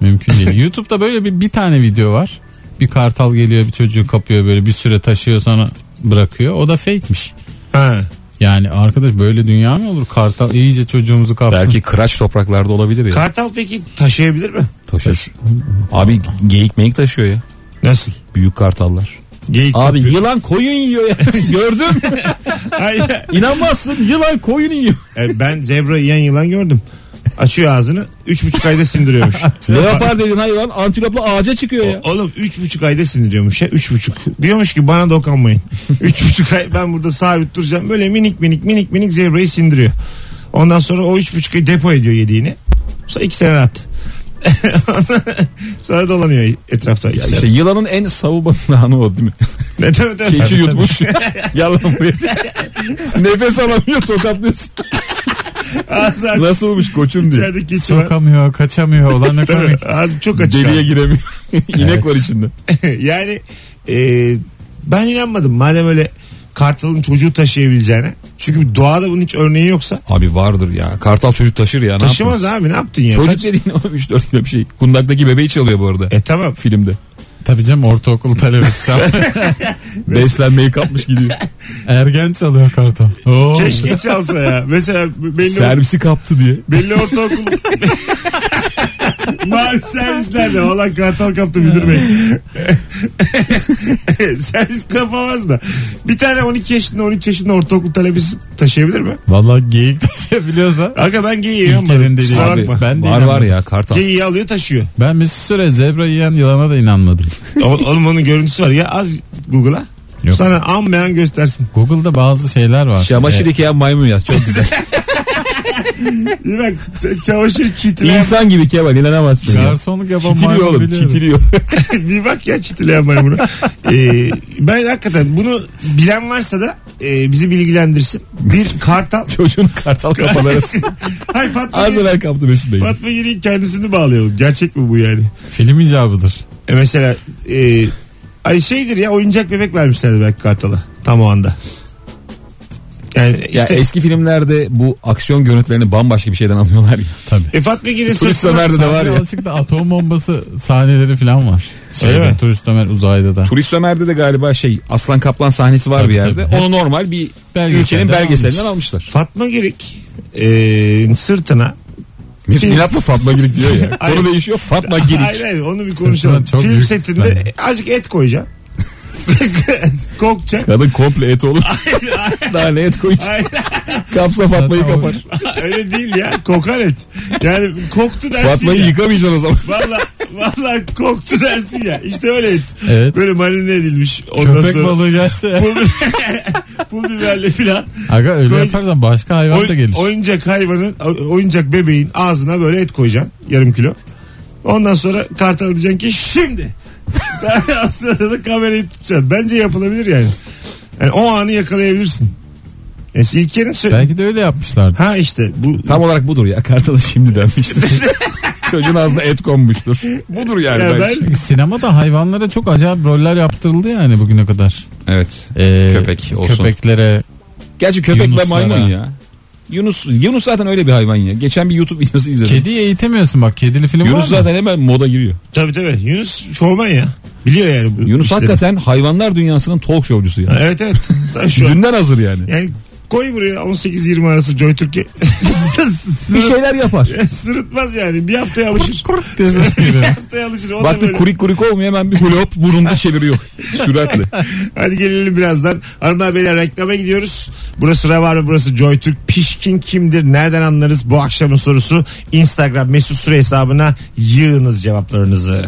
Speaker 4: Mümkün değil. YouTube'da böyle bir, bir tane video var. Bir kartal geliyor bir çocuğu kapıyor böyle bir süre taşıyor sonra bırakıyor. O da fake'miş.
Speaker 2: Ha.
Speaker 4: Yani arkadaş böyle dünya mı olur? Kartal iyice çocuğumuzu kapsın.
Speaker 3: Belki kıraç topraklarda olabilir ya.
Speaker 2: Kartal peki taşıyabilir mi?
Speaker 3: Taşır. Abi geyik meyik taşıyor ya.
Speaker 2: Nasıl?
Speaker 3: Büyük kartallar.
Speaker 2: Geyik
Speaker 3: Abi
Speaker 2: yapıyor.
Speaker 3: yılan koyun yiyor ya. Gördüm.
Speaker 2: Hayır.
Speaker 3: İnanmazsın yılan koyun yiyor.
Speaker 2: E, ben zebra yiyen yılan gördüm. Açıyor ağzını. Üç buçuk ayda sindiriyormuş.
Speaker 3: Leopar dedin hayvan antilopla ağaca çıkıyor ya.
Speaker 2: Oğlum üç buçuk ayda sindiriyormuş ya. Üç buçuk. Diyormuş ki bana dokanmayın. Üç buçuk ay ben burada sabit duracağım. Böyle minik minik minik minik zebrayı sindiriyor. Ondan sonra o üç buçuk ay depo ediyor yediğini. Sonra iki sene rahat. sonra dolanıyor etrafta iki sene.
Speaker 3: İşte yılanın en savuban anı o değil mi?
Speaker 2: Ne tabii tabii.
Speaker 3: Keçi yutmuş. Yalan buraya. Nefes alamıyor tokatlıyorsun.
Speaker 2: Ağzı aç.
Speaker 3: Nasıl olmuş koçum diye.
Speaker 2: İçeride keçi var.
Speaker 4: Sokamıyor, kaçamıyor. Olan ne
Speaker 2: Tabii,
Speaker 4: komik.
Speaker 2: ağzı çok açık.
Speaker 3: Deliye giremiyor. İnek var içinde.
Speaker 2: yani e, ben inanmadım. Madem öyle kartalın çocuğu taşıyabileceğine. Çünkü doğada bunun hiç örneği yoksa.
Speaker 3: Abi vardır ya. Kartal çocuk taşır ya. Ne
Speaker 2: Taşımaz
Speaker 3: yaptınız?
Speaker 2: abi ne yaptın ya?
Speaker 3: Çocuk
Speaker 2: Kaç-
Speaker 3: dediğin oğlum 3-4 kilo bir şey. Kundaktaki bebeği çalıyor bu arada.
Speaker 2: E tamam.
Speaker 3: filmde.
Speaker 4: Tabii canım ortaokul talebesi. Sen
Speaker 3: Beslenmeyi kapmış gidiyor.
Speaker 4: Ergen çalıyor kartal. Oo.
Speaker 2: Keşke çalsa ya. Mesela belli,
Speaker 3: Servisi kaptı diye.
Speaker 2: belli ortaokul... Mavi servislerde olan kartal kaptı müdür bey. Servis kapamaz da. Bir tane 12 yaşında 13 yaşında ortaokul talebesi taşıyabilir mi?
Speaker 4: Vallahi geyik şey taşıyabiliyorsa.
Speaker 2: Aga ben geyiği
Speaker 4: İlker'in
Speaker 2: yanmadım.
Speaker 4: dediği
Speaker 2: Kusura
Speaker 4: abi.
Speaker 2: bakma.
Speaker 4: Ben de
Speaker 3: var var
Speaker 4: inanmıyorum.
Speaker 3: ya kartal.
Speaker 2: Geyiği alıyor taşıyor.
Speaker 4: Ben bir süre zebra yiyen yılana da inanmadım.
Speaker 2: O- Oğlum onun görüntüsü var ya az Google'a.
Speaker 4: Yok.
Speaker 2: Sana an beyan göstersin.
Speaker 4: Google'da bazı şeyler var.
Speaker 3: Şamaşır
Speaker 4: Ee,
Speaker 3: yıkayan maymun yaz. Çok güzel.
Speaker 2: Bir bak ç- çamaşır çitileyen
Speaker 3: İnsan gibi Kemal inanamazsın. ya.
Speaker 4: Garsonluk yapan
Speaker 3: Çitiliyor
Speaker 4: maymun
Speaker 3: oğlım
Speaker 4: biliyorum.
Speaker 3: çitiliyor.
Speaker 2: bir bak ya çitileyen maymunu. Ee, ben hakikaten bunu bilen varsa da e, bizi bilgilendirsin. Bir kartal.
Speaker 3: Çocuğun kartal kafaları.
Speaker 2: Hay Fatma,
Speaker 3: Az
Speaker 2: Gül,
Speaker 3: evvel kaptı Mesut Bey.
Speaker 2: Fatma Gül'ün kendisini bağlayalım. Gerçek mi bu yani?
Speaker 4: Film icabıdır.
Speaker 2: E mesela e, ay şeydir ya oyuncak bebek vermişlerdi belki kartala. Tam o anda. Yani
Speaker 3: Ya
Speaker 2: işte
Speaker 3: eski filmlerde bu aksiyon görüntülerini bambaşka bir şeyden alıyorlar ya.
Speaker 4: Tabii.
Speaker 2: e, Fatma Gül'ün
Speaker 3: Turist
Speaker 2: sırtına
Speaker 3: Ömer'de de var ya.
Speaker 4: Alışıkta atom bombası sahneleri falan var.
Speaker 2: Öyle
Speaker 4: Şeyde,
Speaker 2: mi?
Speaker 4: turist Ömer uzayda da.
Speaker 3: Turist Ömer'de de galiba şey Aslan Kaplan sahnesi var
Speaker 4: Tabii,
Speaker 3: bir yerde.
Speaker 4: tabii.
Speaker 3: Onu normal bir
Speaker 4: Belgeselden
Speaker 3: ülkenin
Speaker 4: almış.
Speaker 3: belgeselinden almışlar.
Speaker 2: Fatma Girik sırtına
Speaker 3: Mesut İnat'la Fatma Girik diyor ya.
Speaker 2: Hayır.
Speaker 3: Konu değişiyor Fatma Girik.
Speaker 2: Hayır hayır onu bir konuşalım.
Speaker 4: Sırtına çok
Speaker 2: Film
Speaker 4: büyük
Speaker 2: setinde azıcık et koyacaksın. Kokacak.
Speaker 3: Kadın komple et olur. Daha ne et koyacak?
Speaker 2: Hayır
Speaker 3: Kapsa Fatma'yı
Speaker 4: Zaten o-
Speaker 3: kapar.
Speaker 2: öyle değil ya kokar et. Yani koktu dersin
Speaker 3: Fatma'yı
Speaker 2: ya.
Speaker 3: yıkamayacaksın o zaman.
Speaker 2: Valla valla koktu dersin ya. İşte öyle et.
Speaker 4: Evet.
Speaker 2: Böyle marine edilmiş. Ondan
Speaker 4: Köpek
Speaker 2: sonra
Speaker 4: balığı gelse.
Speaker 2: Pul, pul biberle filan.
Speaker 4: Aga öyle
Speaker 2: Koy-
Speaker 4: yaparsan başka hayvan da
Speaker 2: Oy-
Speaker 4: gelir.
Speaker 2: oyuncak hayvanın, o- oyuncak bebeğin ağzına böyle et koyacaksın. Yarım kilo. Ondan sonra kartal diyeceksin ki şimdi. Sen o sırada da kamerayı tutacaksın. Bence yapılabilir yani. Yani o anı yakalayabilirsin. Yani İlker'in sö-
Speaker 4: Belki de öyle yapmışlardı.
Speaker 2: Ha işte bu
Speaker 3: Tam olarak budur ya. Kartalı şimdi denmiştir. Çocuğun ağzına et konmuştur. Budur yani
Speaker 2: Ya
Speaker 3: bence.
Speaker 2: ben-
Speaker 4: Çünkü sinemada hayvanlara çok acayip roller yaptırıldı yani bugüne kadar.
Speaker 3: Evet.
Speaker 4: Ee,
Speaker 3: Köpek olsun.
Speaker 4: Köpeklere.
Speaker 3: Gerçi köpek ve
Speaker 4: Yunuslara.
Speaker 3: maymun ya. Yunus Yunus zaten öyle bir hayvan ya. Geçen bir YouTube videosu izledim.
Speaker 4: Kediyi eğitemiyorsun bak kedili film var
Speaker 3: Yunus
Speaker 4: mı?
Speaker 3: zaten hemen moda giriyor.
Speaker 2: tabii tabii Yunus şovman ya. Biliyor yani. Bu
Speaker 3: Yunus
Speaker 2: işleri.
Speaker 3: hakikaten hayvanlar dünyasının talk showcusu ya.
Speaker 2: Ha, Evet evet. Tabii şu an.
Speaker 3: Dünden hazır yani.
Speaker 2: Yani koy buraya 18-20 arası Joy Türkiye.
Speaker 3: Bir şey- şeyler yapar.
Speaker 2: Sırıtmaz yani. Bir haftaya alışır.
Speaker 4: diye ses
Speaker 2: bir
Speaker 4: geliyor.
Speaker 2: haftaya alışır. O da
Speaker 3: Baktık
Speaker 2: böyle.
Speaker 3: kurik kurik olmuyor hemen bir hulop burunda çeviriyor. Süratle.
Speaker 2: Hadi gelelim birazdan. Hanımlar beyler reklama gidiyoruz. Burası Rabarba burası Joy Türk. Pişkin kimdir? Nereden anlarız? Bu akşamın sorusu Instagram mesut süre hesabına yığınız cevaplarınızı.